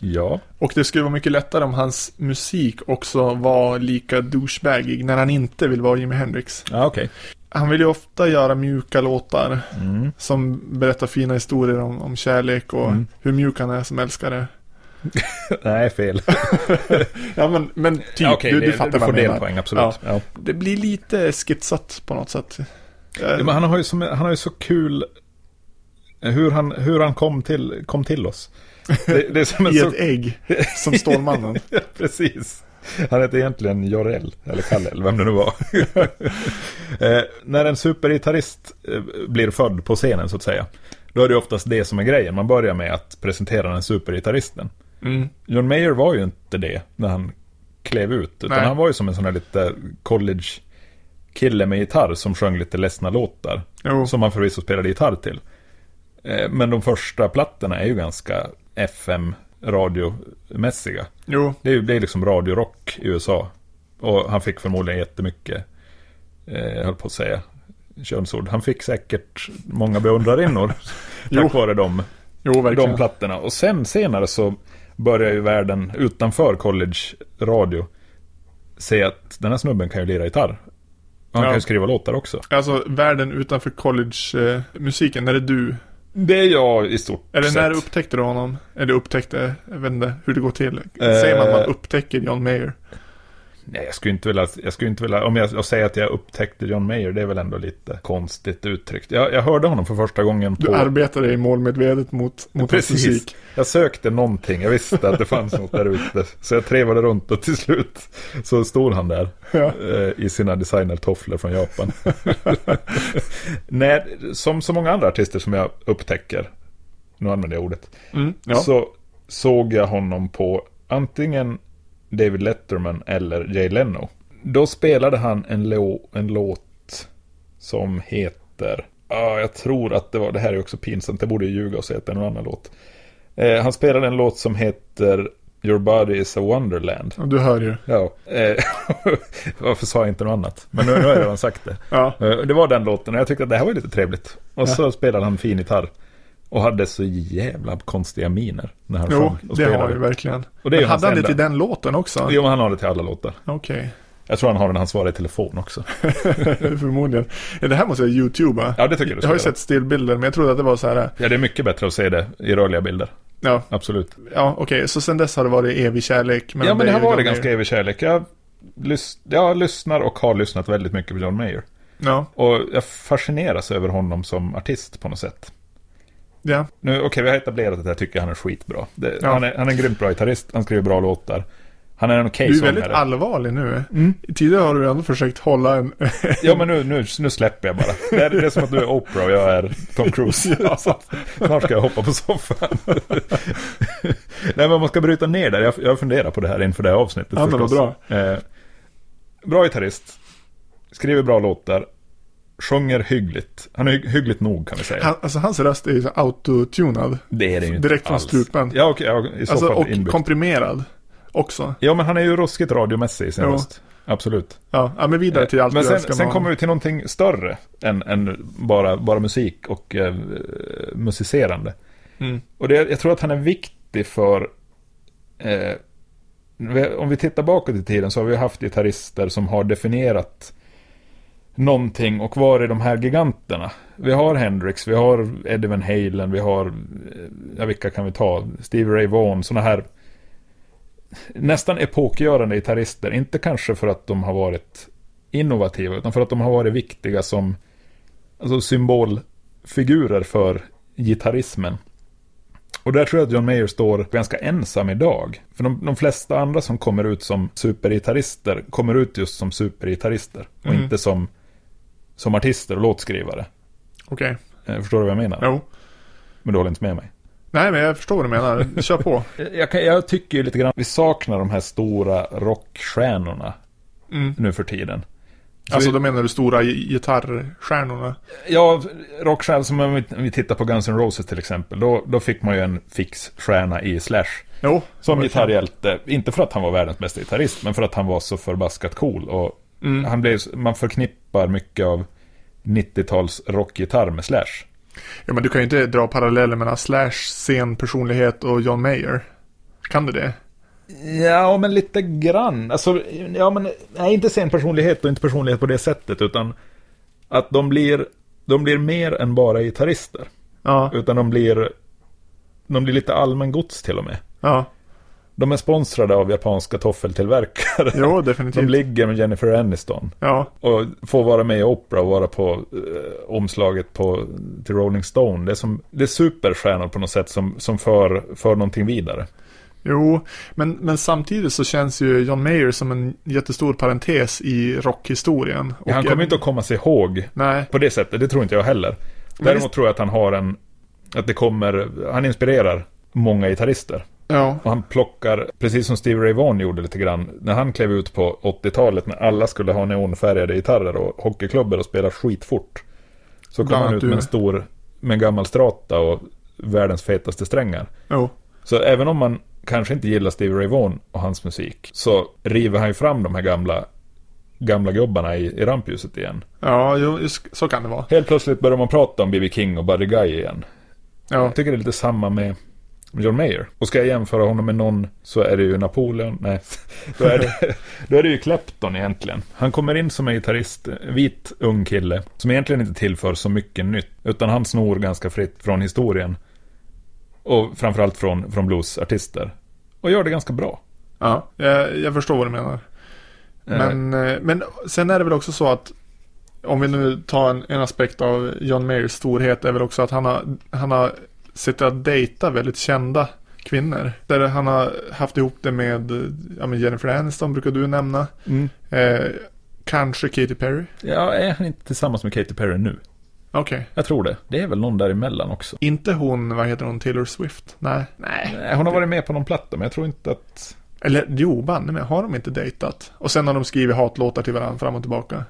Speaker 1: Ja,
Speaker 2: Och det skulle vara mycket lättare om hans musik också var lika douchebagig när han inte vill vara Jimi Hendrix.
Speaker 1: ja Ah, okej.
Speaker 2: Han vill ju ofta göra mjuka låtar
Speaker 1: Mm.
Speaker 2: som berättar fina historier om, om kärlek och
Speaker 1: Mm.
Speaker 2: hur mjuk han är som älskare.
Speaker 1: Nej, fel.
Speaker 2: Ja men, men typ,
Speaker 1: Ja, okej,
Speaker 2: du,
Speaker 1: det-
Speaker 2: du fattar
Speaker 1: du får
Speaker 2: vad jag menar.
Speaker 1: delpoäng, absolut. Ja.
Speaker 2: Det blir lite skitsat på något sätt.
Speaker 1: Ja, men han, har ju som, han har ju så kul eh, hur han, hur han kom, till, kom till oss. Det, det är som en
Speaker 2: I
Speaker 1: så,
Speaker 2: ett ägg, som Stålmannen.
Speaker 1: precis. Han heter egentligen Jorell, eller Kallel, vem det nu var. eh, när en supergitarrist eh, blir född på scenen så att säga, då är det oftast det som är grejen. Man börjar med att presentera den supergitarristen.
Speaker 2: Mm.
Speaker 1: John Mayer var ju inte det när han klev ut, utan
Speaker 2: Nej.
Speaker 1: han var ju som en sån här lite college-kille med gitarr som sjöng lite ledsna låtar.
Speaker 2: Jo.
Speaker 1: Som han förvisso spelade gitarr till. Eh, Men de första plattorna är ju ganska FM-radiomässiga.
Speaker 2: jo,
Speaker 1: Det är ju det är liksom radiorock i USA. Och han fick förmodligen jättemycket, eh, jag höll på att säga, könsord. Han fick säkert många beundrarinnor
Speaker 2: Jo.
Speaker 1: tack vare dem,
Speaker 2: jo verkligen.
Speaker 1: de plattorna. Och sen senare så börjar ju världen utanför college radio se att den här snubben kan ju lira gitarr. Och han
Speaker 2: Ja.
Speaker 1: kan ju skriva låtar också.
Speaker 2: Alltså världen utanför college-musiken, när det är du
Speaker 1: Det är jag i stort
Speaker 2: Eller
Speaker 1: sett.
Speaker 2: när upptäckte du honom? Eller upptäckte, jag vet inte hur det går till.
Speaker 1: Eh.
Speaker 2: Säger man att man upptäcker John Mayer?
Speaker 1: Nej, jag skulle inte vilja, jag skulle inte vilja om jag, jag säger att jag upptäckte John Mayer, det är väl ändå lite konstigt uttryckt. Jag, jag hörde honom för första gången
Speaker 2: Du
Speaker 1: på...
Speaker 2: arbetade i målmedvetet mot, mot hans
Speaker 1: Precis.
Speaker 2: musik.
Speaker 1: Jag sökte någonting, jag visste att det fanns något där ute. Så jag trevade runt och till slut så stod han där
Speaker 2: Ja.
Speaker 1: eh, i sina designertofflor från Japan. Nej, som så många andra artister som jag upptäcker, nu använder jag ordet,
Speaker 2: Mm, ja.
Speaker 1: så såg jag honom på antingen David Letterman eller Jay Leno. Då spelade han en, lå- en låt som heter... Ah, jag tror att det var... Det här är också pinsamt. Jag borde ju ljuga och säga att det är någon annan låt. Eh, han spelade en låt som heter Your body is a wonderland.
Speaker 2: Ja, Du hör ju.
Speaker 1: Ja. Eh, varför sa jag inte något annat? Men nu, nu har jag redan sagt det.
Speaker 2: Ja.
Speaker 1: Eh, Det var den låten och jag tyckte att det här var lite trevligt. Och så spelade han fin gitarr. Och hade så jävla konstiga miner när han
Speaker 2: Jo,
Speaker 1: sjöng och
Speaker 2: det har han ju verkligen.
Speaker 1: Och det är ju
Speaker 2: Men
Speaker 1: hans
Speaker 2: hade han det
Speaker 1: enda.
Speaker 2: till den låten också?
Speaker 1: Jo, men han har det till alla låtar.
Speaker 2: Okej,
Speaker 1: Jag tror han har det när han svarar i telefon också.
Speaker 2: förmodligen. Ja, det här måste jag youtuba.
Speaker 1: Ja, det tycker jag du
Speaker 2: Jag
Speaker 1: ska
Speaker 2: har ju
Speaker 1: göra.
Speaker 2: sett stillbilder, men jag trodde att det var så här.
Speaker 1: Ja, det är mycket bättre att se det i rörliga bilder.
Speaker 2: Ja,
Speaker 1: Absolut.
Speaker 2: ja okej, så sen dess har det varit evig kärlek.
Speaker 1: ja, men det har
Speaker 2: John
Speaker 1: varit
Speaker 2: Mayer.
Speaker 1: ganska evig kärlek. Jag, lys- jag lyssnar och har lyssnat väldigt mycket på John Mayer.
Speaker 2: Ja,
Speaker 1: Och jag fascineras över honom som artist på något sätt.
Speaker 2: ja,
Speaker 1: Nu, okej, vi har etablerat att jag tycker han är skitbra. Det,
Speaker 2: Ja.
Speaker 1: han, är, han är en grymt bra gitarrist, han skriver bra låtar. Han är Mm. en okej
Speaker 2: du är väldigt
Speaker 1: sångare.
Speaker 2: allvarlig nu. Tidigare har du ändå försökt hålla en...
Speaker 1: Ja, men nu, nu, nu släpper jag bara. Det är, det är som att du är Oprah och jag är Tom Cruise. Alltså, snart ska jag hoppa på soffan. Nej, men man ska bryta ner där. Jag, jag funderar på det här inför det här avsnittet
Speaker 2: Ja, men vad bra.
Speaker 1: Eh, bra gitarrist, skriver bra låtar, sjunger hyggligt. Han är hy- hyggligt nog kan vi säga.
Speaker 2: Han, alltså hans röst är ju så autotunad.
Speaker 1: det är det ju inte
Speaker 2: direkt från
Speaker 1: alls.
Speaker 2: strupen.
Speaker 1: Ja, okej, ja, i så
Speaker 2: Alltså,
Speaker 1: fall
Speaker 2: och
Speaker 1: inbyggt.
Speaker 2: komprimerad också.
Speaker 1: Ja, men han är ju ruskigt radiomässig i sin
Speaker 2: Jo.
Speaker 1: röst. Absolut.
Speaker 2: Ja, ja men vidare till allt
Speaker 1: Eh, men
Speaker 2: du
Speaker 1: sen,
Speaker 2: älskar med
Speaker 1: sen
Speaker 2: honom.
Speaker 1: kommer vi till någonting större än, än bara, bara musik och eh, musicerande.
Speaker 2: Mm.
Speaker 1: Och det, jag tror att han är viktig för... Eh, vi- om vi tittar bakåt i tiden så har vi haft gitarrister som har definierat någonting och varit de här giganterna. Vi har Hendrix, vi har Eddie Van Halen, vi har... eh, Ja, vilka kan vi ta? Stevie Ray Vaughan, sådana här... Nästan epokgörande gitarrister, inte kanske för att de har varit innovativa, utan för att de har varit viktiga som alltså symbolfigurer för gitarrismen. Och där tror jag att John Mayer står ganska ensam idag. För de, de flesta andra som kommer ut som supergitarrister kommer ut just som supergitarrister och
Speaker 2: Mm.
Speaker 1: inte som, som artister och låtskrivare.
Speaker 2: Okej,
Speaker 1: Eh, Förstår du vad jag menar?
Speaker 2: jo.
Speaker 1: Men du håller inte med mig?
Speaker 2: Nej, men jag förstår vad du menar. Kör på.
Speaker 1: Jag, kan, jag tycker ju lite grann, vi saknar de här stora rockstjärnorna
Speaker 2: Mm.
Speaker 1: nu för tiden. Så
Speaker 2: Alltså
Speaker 1: vi-
Speaker 2: då menar du stora gi- gitarrstjärnorna?
Speaker 1: Ja, rockstjärnor som om vi, om vi tittar på Guns N' Roses till exempel, då, då fick man ju en fix stjärna i Slash.
Speaker 2: Jo.
Speaker 1: Som
Speaker 2: verkligen.
Speaker 1: gitarrhjälte, inte för att han var världens bästa gitarrist, men för att han var så förbaskat cool. Och
Speaker 2: Mm.
Speaker 1: han blev, man förknippar mycket av 90-tals rockgitarr med Slash.
Speaker 2: Ja, men du kan ju inte dra paralleller mellan Slash scenpersonlighet och John Mayer. Kan du det?
Speaker 1: Ja, men lite grann. Alltså, ja, men, nej, inte sen personlighet och inte personlighet på det sättet, utan att de blir, de blir mer än bara gitarrister.
Speaker 2: Ja.
Speaker 1: Utan de blir, de blir lite allmängods till och med.
Speaker 2: Ja.
Speaker 1: De är sponsrade av japanska toffeltillverkare.
Speaker 2: Jo,
Speaker 1: De
Speaker 2: definitivt.
Speaker 1: ligger med Jennifer Aniston.
Speaker 2: Ja.
Speaker 1: Och få vara med i Opera och vara på eh, omslaget på, till Rolling Stone. Det är, som, det är superstjärnor på något sätt som, som för, för någonting vidare.
Speaker 2: Jo, men, men samtidigt så känns ju John Mayer som en jättestor parentes i rockhistorien. Och
Speaker 1: han kommer
Speaker 2: jag-
Speaker 1: inte att komma sig ihåg
Speaker 2: Nej,
Speaker 1: på det sättet, det tror inte jag heller.
Speaker 2: Men
Speaker 1: Däremot tror jag att han har en... Att det kommer... Han inspirerar många gitarrister.
Speaker 2: ja.
Speaker 1: Och han plockar, precis som Stevie Ray Vaughan gjorde lite grann, när han klev ut på 80-talet när alla skulle ha neonfärgade gitarrer och hockeyklubbor och spela skitfort. Så kom
Speaker 2: Bland
Speaker 1: han
Speaker 2: annat
Speaker 1: ut
Speaker 2: du.
Speaker 1: med en stor, med en gammal strata och världens fetaste strängar.
Speaker 2: Jo.
Speaker 1: Så även om man kanske inte gillar Stevie Ray Vaughan och hans musik så river han ju fram de här gamla, gamla gubbarna i, i rampljuset igen.
Speaker 2: Ja, jo, just- så kan det vara.
Speaker 1: Helt plötsligt börjar man prata om B.B. King och Buddy Guy igen.
Speaker 2: Ja.
Speaker 1: Jag tycker det är lite samma med John Mayer. Och ska jag jämföra honom med någon så är det ju Napoleon. Nej, då är det, då är det ju Clapton egentligen. Han kommer in som en gitarrist, en vit ung kille. Som egentligen inte tillför så mycket nytt. Utan han snor ganska fritt från historien. Och framförallt från, från bluesartister. Och gör det ganska bra.
Speaker 2: Ja, jag, jag förstår vad du menar.
Speaker 1: Eh,
Speaker 2: Men, eh, men sen är det väl också så att om vi nu tar en, en aspekt av John Mayers storhet är väl också att han har, han har sett att dejta väldigt kända kvinnor. Där han har haft ihop det med eh, ja, men Jennifer Aniston brukar du nämna.
Speaker 1: mm.
Speaker 2: Eh, kanske Katy Perry.
Speaker 1: Ja, är han inte tillsammans med Katy Perry nu?
Speaker 2: Okej.
Speaker 1: Jag tror det. Det är väl någon däremellan också.
Speaker 2: Inte hon, vad heter hon, Taylor Swift? Nej. Nej.
Speaker 1: Nej, Eh, Hon har varit med på någon platta, men jag tror inte att...
Speaker 2: Eller jo, banne mig, har de inte dejtat? Och sen har de skrivit hatlåtar till varandra fram och tillbaka.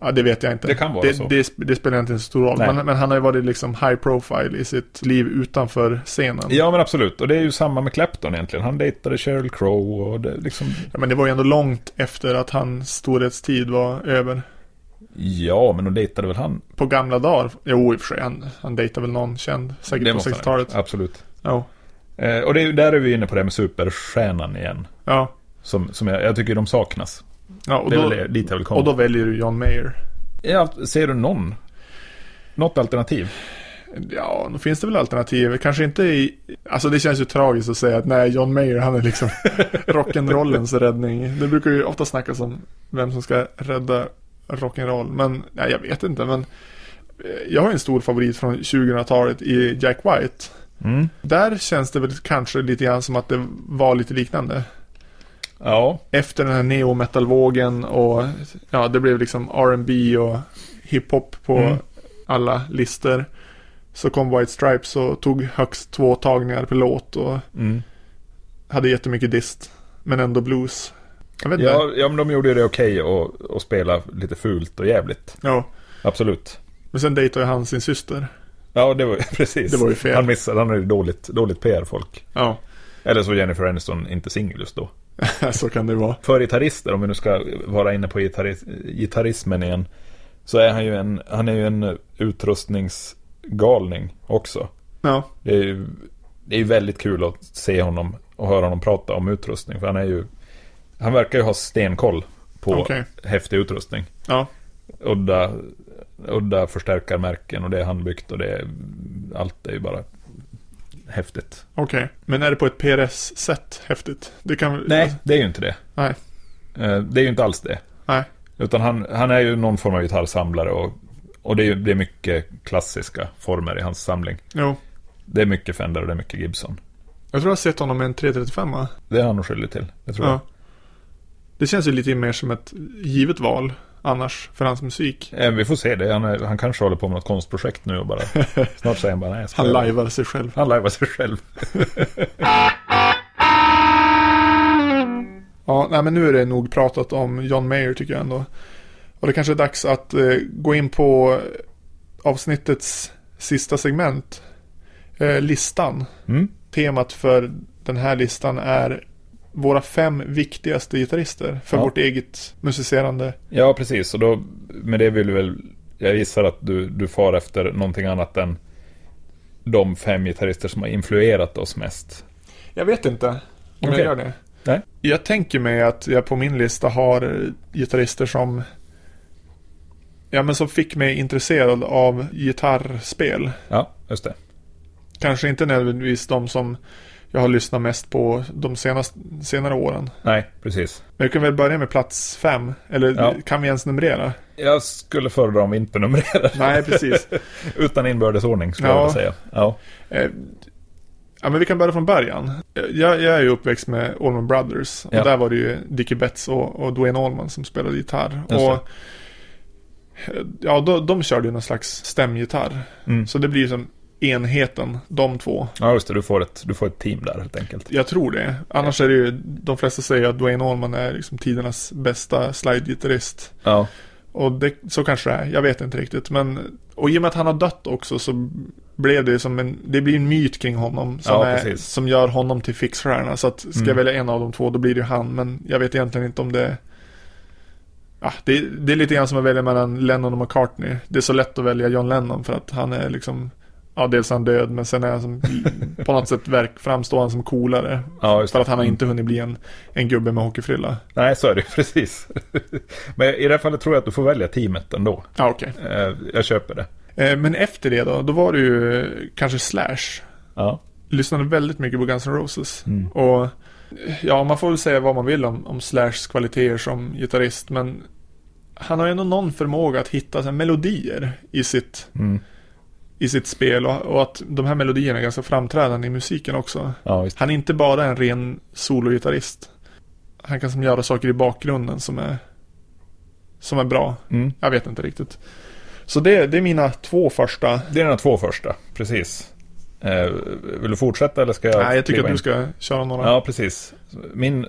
Speaker 2: Ja, det vet jag inte.
Speaker 1: Det kan vara
Speaker 2: det,
Speaker 1: så.
Speaker 2: Det, sp- det spelar inte en stor roll.
Speaker 1: Nej.
Speaker 2: Men, men han har ju varit liksom high profile i sitt liv utanför scenen.
Speaker 1: Ja, men absolut. Och det är ju samma med Clapton egentligen. Han dejtade Sheryl Crow och det liksom...
Speaker 2: Ja, men det var ju ändå långt efter att hans storhetstid var över.
Speaker 1: Ja, men de dejtade väl han?
Speaker 2: På gamla dagar. Jo, i och för sig. Han, han dejtade väl någon känd. Säkert på
Speaker 1: måste han ha
Speaker 2: 60-talet.
Speaker 1: gjort. Absolut.
Speaker 2: Ja.
Speaker 1: Eh, och det, är- där är vi inne på det här med superstjärnan igen.
Speaker 2: Ja.
Speaker 1: Som, som jag, jag tycker de saknas.
Speaker 2: ja och,
Speaker 1: det är
Speaker 2: då,
Speaker 1: väl det- dit jag vill komma.
Speaker 2: och då väljer du John Mayer.
Speaker 1: Ja, ser du någon? Något alternativ?
Speaker 2: Ja, då finns det väl alternativ. Kanske inte i... Alltså det känns ju tragiskt att säga att nej, John Mayer han är liksom rock'n'rollens räddning. Det brukar ju ofta snackas om vem som ska rädda rock'n'roll. Men nej, jag vet inte. Men eh, jag har ju en stor favorit från 2000-talet i Jack White.
Speaker 1: Mm.
Speaker 2: Där känns det väl kanske lite grann som att det var lite liknande.
Speaker 1: Ja,
Speaker 2: Efter den här neometalvågen och ja, det blev liksom R&B och hiphop på
Speaker 1: Mm.
Speaker 2: alla listor. Så kom White Stripes och tog högst två tagningar per låt och
Speaker 1: mm.
Speaker 2: hade jättemycket dist. Men ändå blues. Jag vet inte.
Speaker 1: ja, ja men de gjorde ju det okej och, och spela lite fult och jävligt.
Speaker 2: Ja.
Speaker 1: Absolut.
Speaker 2: Men sen dejtade ju han sin syster.
Speaker 1: Ja, det var precis.
Speaker 2: Det var ju fel.
Speaker 1: Han missade, han hade dåligt, dåligt PR-folk.
Speaker 2: Ja,
Speaker 1: Eller så var Jennifer Aniston inte singel just då.
Speaker 2: så kan det vara.
Speaker 1: För gitarrister, om vi nu ska vara inne på gitarris gitarrismen igen. Så är han ju en, han är ju en utrustningsgalning också.
Speaker 2: Ja,
Speaker 1: Det är ju det är ju väldigt kul att se honom och höra honom prata om utrustning. För han är ju, han verkar ju ha stenkoll på
Speaker 2: Okej.
Speaker 1: häftig utrustning.
Speaker 2: ja.
Speaker 1: Udda, udda förstärkarmärken och det han byggt och det, allt är ju bara häftigt.
Speaker 2: okej. Men är det på ett PRS-sätt häftigt? Det kan väl-
Speaker 1: Nej, det är ju inte det.
Speaker 2: Nej.
Speaker 1: Eh, Det är ju inte alls det.
Speaker 2: Nej.
Speaker 1: Utan han, han är ju någon form av gitarrsamlare och, och det, är, ju- det är mycket klassiska former i hans samling.
Speaker 2: Jo.
Speaker 1: Det är mycket Fender och det är mycket Gibson.
Speaker 2: Jag tror jag har sett honom med en 335 va?
Speaker 1: Det är han nog skyldig till, det tror
Speaker 2: Ja. Det känns ju lite mer som ett givet val annars för hans musik.
Speaker 1: jag. Eh, Vi får se det. Han, är, han kanske håller på med något konstprojekt nu och bara... snart säger han bara nej. jag ska
Speaker 2: Han
Speaker 1: göra det."
Speaker 2: lajvar sig själv.
Speaker 1: han lajvar sig själv.
Speaker 2: Ja, nej men nu är det nog pratat om John Mayer tycker jag ändå. Och det kanske är dags att eh, gå in på avsnittets sista segment. Eh, listan.
Speaker 1: Mm.
Speaker 2: Temat för den här listan är våra fem viktigaste gitarrister för
Speaker 1: Ja.
Speaker 2: vårt eget musicerande.
Speaker 1: Ja, precis. Och då, med det vill du väl... Jag gissar att du, du far efter någonting annat än de fem gitarrister som har influerat oss mest.
Speaker 2: Jag vet inte om
Speaker 1: Okej.
Speaker 2: jag gör det.
Speaker 1: Nej.
Speaker 2: Jag tänker mig att jag på min lista har eh, gitarrister som Ja men som fick mig intresserad av gitarrspel.
Speaker 1: Ja, just det.
Speaker 2: Kanske inte nödvändigtvis de som jag har lyssnat mest på de senaste, senare åren.
Speaker 1: Nej, precis.
Speaker 2: Men vi kan väl börja med plats fem. Eller
Speaker 1: Ja.
Speaker 2: kan vi ens numrera?
Speaker 1: Jag skulle föredra om vi inte numrerade.
Speaker 2: Nej, precis.
Speaker 1: Utan inbördes ordning skulle jag
Speaker 2: Ja.
Speaker 1: vilja säga. Ja.
Speaker 2: Eh, Ja men vi kan börja från början. Eh, Jag, jag är ju uppväxt med Allman Brothers. Och
Speaker 1: Ja.
Speaker 2: där var det ju Dickie Betts och, och Dwayne Allman som spelade gitarr.
Speaker 1: Just
Speaker 2: Och eh, ja, då, de körde ju någon slags stämgitarr.
Speaker 1: Mm.
Speaker 2: Så det blir ju som enheten, de två.
Speaker 1: ja, just det. Du får, ett, du får ett team där helt enkelt.
Speaker 2: Jag tror det. Annars är det ju, de flesta säger att Dwayne Allman är liksom tidernas bästa slide-gitarrist.
Speaker 1: Ja,
Speaker 2: Och det, så kanske det är, jag vet inte riktigt. Men, och i och med att han har dött också så blev det som en, det blir en myt kring honom som,
Speaker 1: Ja,
Speaker 2: är,
Speaker 1: precis.
Speaker 2: som gör honom till fixstjärna. Så att ska jag
Speaker 1: Mm.
Speaker 2: välja en av de två då blir det ju han. Men jag vet egentligen inte om det ja, det, det är lite grann som att välja mellan Lennon och McCartney. Det är så lätt att välja John Lennon för att han är liksom Ja, dels är han död men sen är han som, på något sätt verk, framstår han som coolare.
Speaker 1: ja just
Speaker 2: För
Speaker 1: det. Mm.
Speaker 2: att han har inte hunnit bli en, en gubbe med hockeyfrilla.
Speaker 1: Nej, så är det ju, precis. Men i det här fallet tror jag att du får välja teamet ändå.
Speaker 2: Ja, okej.
Speaker 1: Eh, Jag köper det.
Speaker 2: Eh, Men efter det då, då var det ju eh, kanske Slash.
Speaker 1: Ja.
Speaker 2: Lyssnade väldigt mycket på Guns N' Roses.
Speaker 1: Mm.
Speaker 2: Och eh, ja, man får väl säga vad man vill om, om Slashs kvaliteter som gitarrist, men han har ju ändå någon förmåga att hitta så här, melodier i sitt,
Speaker 1: Mm.
Speaker 2: i sitt spel och, och att de här melodierna är ganska framträdande i musiken också.
Speaker 1: Ja, visst.
Speaker 2: Han är inte bara en ren sologitarrist. Han kan som göra saker i bakgrunden som är, som är bra.
Speaker 1: Mm.
Speaker 2: Jag vet inte riktigt. Så det, det är mina två första
Speaker 1: Det är de två första, precis. Eh, Vill du fortsätta eller ska jag
Speaker 2: Nej, jag tycker
Speaker 1: kliva
Speaker 2: att
Speaker 1: in?
Speaker 2: du ska köra några.
Speaker 1: Ja, precis. Min...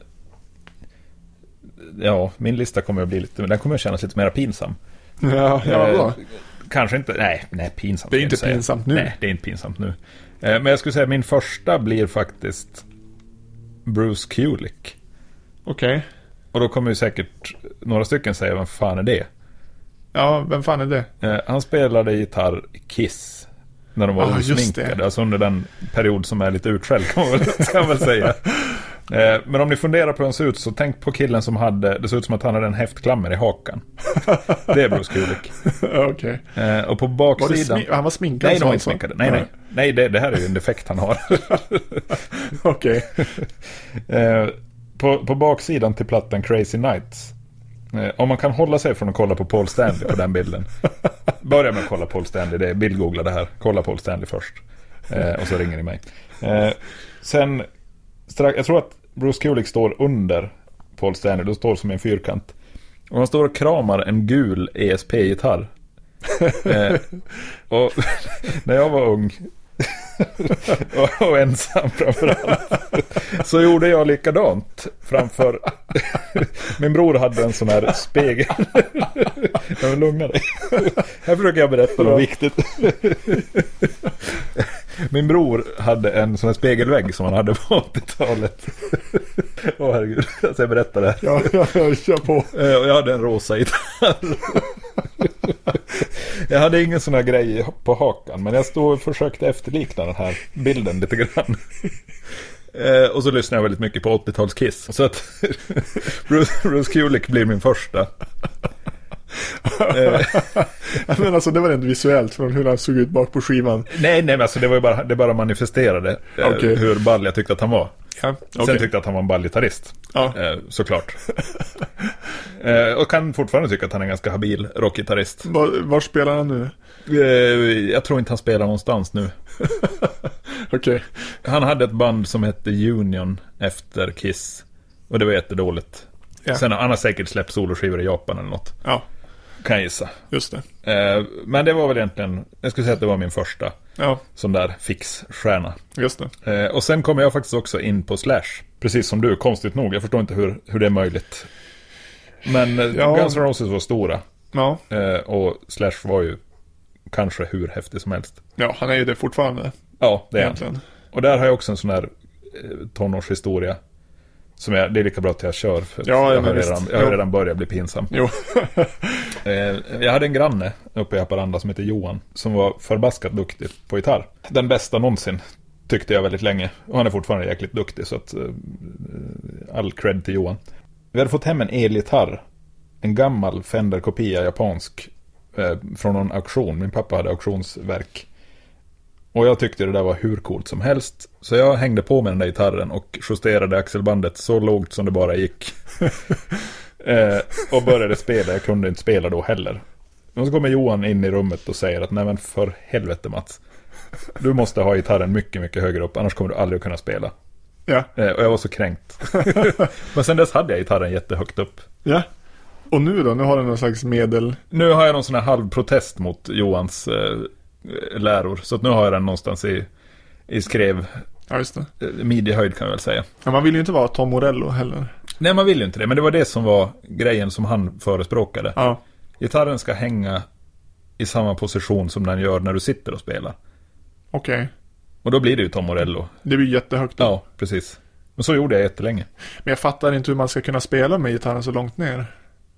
Speaker 1: Ja, min lista kommer att bli lite... Den kommer att kännas lite mer pinsam.
Speaker 2: Ja, ja
Speaker 1: Eh,
Speaker 2: vadå?
Speaker 1: Kanske inte, nej, nej pinsamt.
Speaker 2: Det
Speaker 1: ska
Speaker 2: är
Speaker 1: jag
Speaker 2: inte
Speaker 1: säga.
Speaker 2: pinsamt nu.
Speaker 1: Nej, det är inte pinsamt nu. Eh, Men jag skulle säga att min första blir faktiskt Bruce Kulick.
Speaker 2: Okej.
Speaker 1: Och då kommer ju säkert några stycken säga, vem fan är det?
Speaker 2: Ja, vem fan är det?
Speaker 1: Eh, Han spelade gitarr i Kiss. När de var
Speaker 2: Ah, just det.
Speaker 1: osminkade. Alltså under den period som är lite utskälld kan man väl, kan man väl säga. Eh, Men om ni funderar på hur han ser ut så tänk på killen som hade, det ser ut som att han hade en häftklammer i hakan. Det är Bruce Kulick.
Speaker 2: Okej.
Speaker 1: Eh, Och på
Speaker 2: Var det
Speaker 1: baksidan...
Speaker 2: smi- han var sminkad
Speaker 1: Nej, de
Speaker 2: sa
Speaker 1: var
Speaker 2: han
Speaker 1: inte
Speaker 2: så.
Speaker 1: sminkade. Nej, nej. Nej, det, det här är ju en defekt han har.
Speaker 2: Okej.
Speaker 1: Eh, på, på baksidan till plattan Crazy Nights. Eh, om man kan hålla sig från att kolla på Paul Stanley på den bilden. Börja med att kolla Paul Stanley, det är bildgoogla det här. Kolla Paul Stanley först. Eh, och så ringer ni mig. Eh, sen, strax, jag tror att Bruce Kulick står under Paul Stanley, då står som i en fyrkant. Och han står och kramar en gul ESP-gitarr. Eh, och när jag var ung och, och ensam framförallt. Så gjorde jag likadant framför... Min bror hade en sån här spegel. Jag vill lugna dig. Här försöker jag berätta något viktigt. Min bror hade en sån här spegelvägg som han hade på 80-talet. Åh herregud, alltså jag berättar det här.
Speaker 2: Ja, ja, ja, kör på.
Speaker 1: Eh, Och jag hade en rosa gitarr. jag hade ingen sån här grej på hakan, men jag stod och försökte efterlikna den här bilden lite grann. Eh, och så lyssnade jag väldigt mycket på 80-tals Kiss. Så att Bruce, Bruce Kulick blir min första. Eh,
Speaker 2: Ja, Men alltså det var ändå visuellt från hur han såg ut bak på skivan.
Speaker 1: nej, nej, men alltså det var ju bara, det bara manifesterade eh,
Speaker 2: Okej.
Speaker 1: hur ball jag tyckte att han var.
Speaker 2: Ja,
Speaker 1: Sen tyckte jag att han var en ball gitarrist.
Speaker 2: ja.
Speaker 1: Eh, såklart. eh, och kan fortfarande tycka att han är en ganska habil rockgitarrist.
Speaker 2: Var, var spelar han nu?
Speaker 1: Eh, Jag tror inte han spelar någonstans nu.
Speaker 2: Okej.
Speaker 1: Han hade ett band som hette Union efter Kiss. Och det var jättedåligt.
Speaker 2: Ja.
Speaker 1: Sen har han har säkert släppt soloskivor i Japan eller något.
Speaker 2: Ja,
Speaker 1: Kan jag gissa.
Speaker 2: just det.
Speaker 1: Eh, Men det var väl egentligen, jag skulle säga att det var min första
Speaker 2: Ja,
Speaker 1: sån där fixstjärna.
Speaker 2: just det.
Speaker 1: Eh, Och sen kom jag faktiskt också in på Slash. Precis som du, konstigt nog. Jag förstår inte hur, hur det är möjligt. Men eh,
Speaker 2: Ja.
Speaker 1: Guns N' Roses var stora.
Speaker 2: Ja.
Speaker 1: eh, Och Slash var ju kanske hur häftig som helst.
Speaker 2: ja, han är ju det fortfarande
Speaker 1: Ja, det är han.
Speaker 2: egentligen.
Speaker 1: Och där har jag också en sån här eh, tonårshistoria. Som jag, det är lika bra att jag kör. För att
Speaker 2: Ja, ja,
Speaker 1: jag, har
Speaker 2: men visst.
Speaker 1: redan, jag har
Speaker 2: Jo.
Speaker 1: redan börjat bli pinsam.
Speaker 2: Jo,
Speaker 1: Eh, jag hade en granne uppe i Haparanda som heter Johan. Som var förbaskat duktig på gitarr. Den bästa någonsin. Tyckte jag väldigt länge. Och han är fortfarande jäkligt duktig. Så att, eh, all cred till Johan. Vi hade fått hem en elgitarr. En gammal Fender-kopia, japansk. Eh, från någon auktion. Min pappa hade auktionsverk. Och jag tyckte det där var hur coolt som helst. Så jag hängde på med den där gitarren och justerade axelbandet så lågt som det bara gick. eh, och började spela, jag kunde inte spela då heller. Och så kommer Johan in i rummet och säger att nej men för helvete Mats. Du måste ha gitarren mycket, mycket högre upp, annars kommer du aldrig att kunna spela.
Speaker 2: ja.
Speaker 1: Eh, och jag var så kränkt. men sen dess hade jag gitarren jättehögt upp.
Speaker 2: ja. Och nu då? Nu har den någon slags medel...
Speaker 1: Nu har jag någon sån här halvprotest mot Johans eh, läror. Så att nu har jag den någonstans i, i skrev,
Speaker 2: Ja, just det.
Speaker 1: eh, midjehöjd kan jag väl säga.
Speaker 2: Ja, man vill ju inte vara Tom Morello heller.
Speaker 1: Nej, man vill ju inte det. Men det var det som var grejen som han förespråkade.
Speaker 2: Ja,
Speaker 1: Gitarren ska hänga i samma position som den gör när du sitter och spelar.
Speaker 2: okej.
Speaker 1: Och då blir det ju Tom Morello.
Speaker 2: Det blir jättehögt upp.
Speaker 1: Ja, precis. Men så gjorde jag jättelänge.
Speaker 2: Men jag fattar inte hur man ska kunna spela med gitarren så långt ner.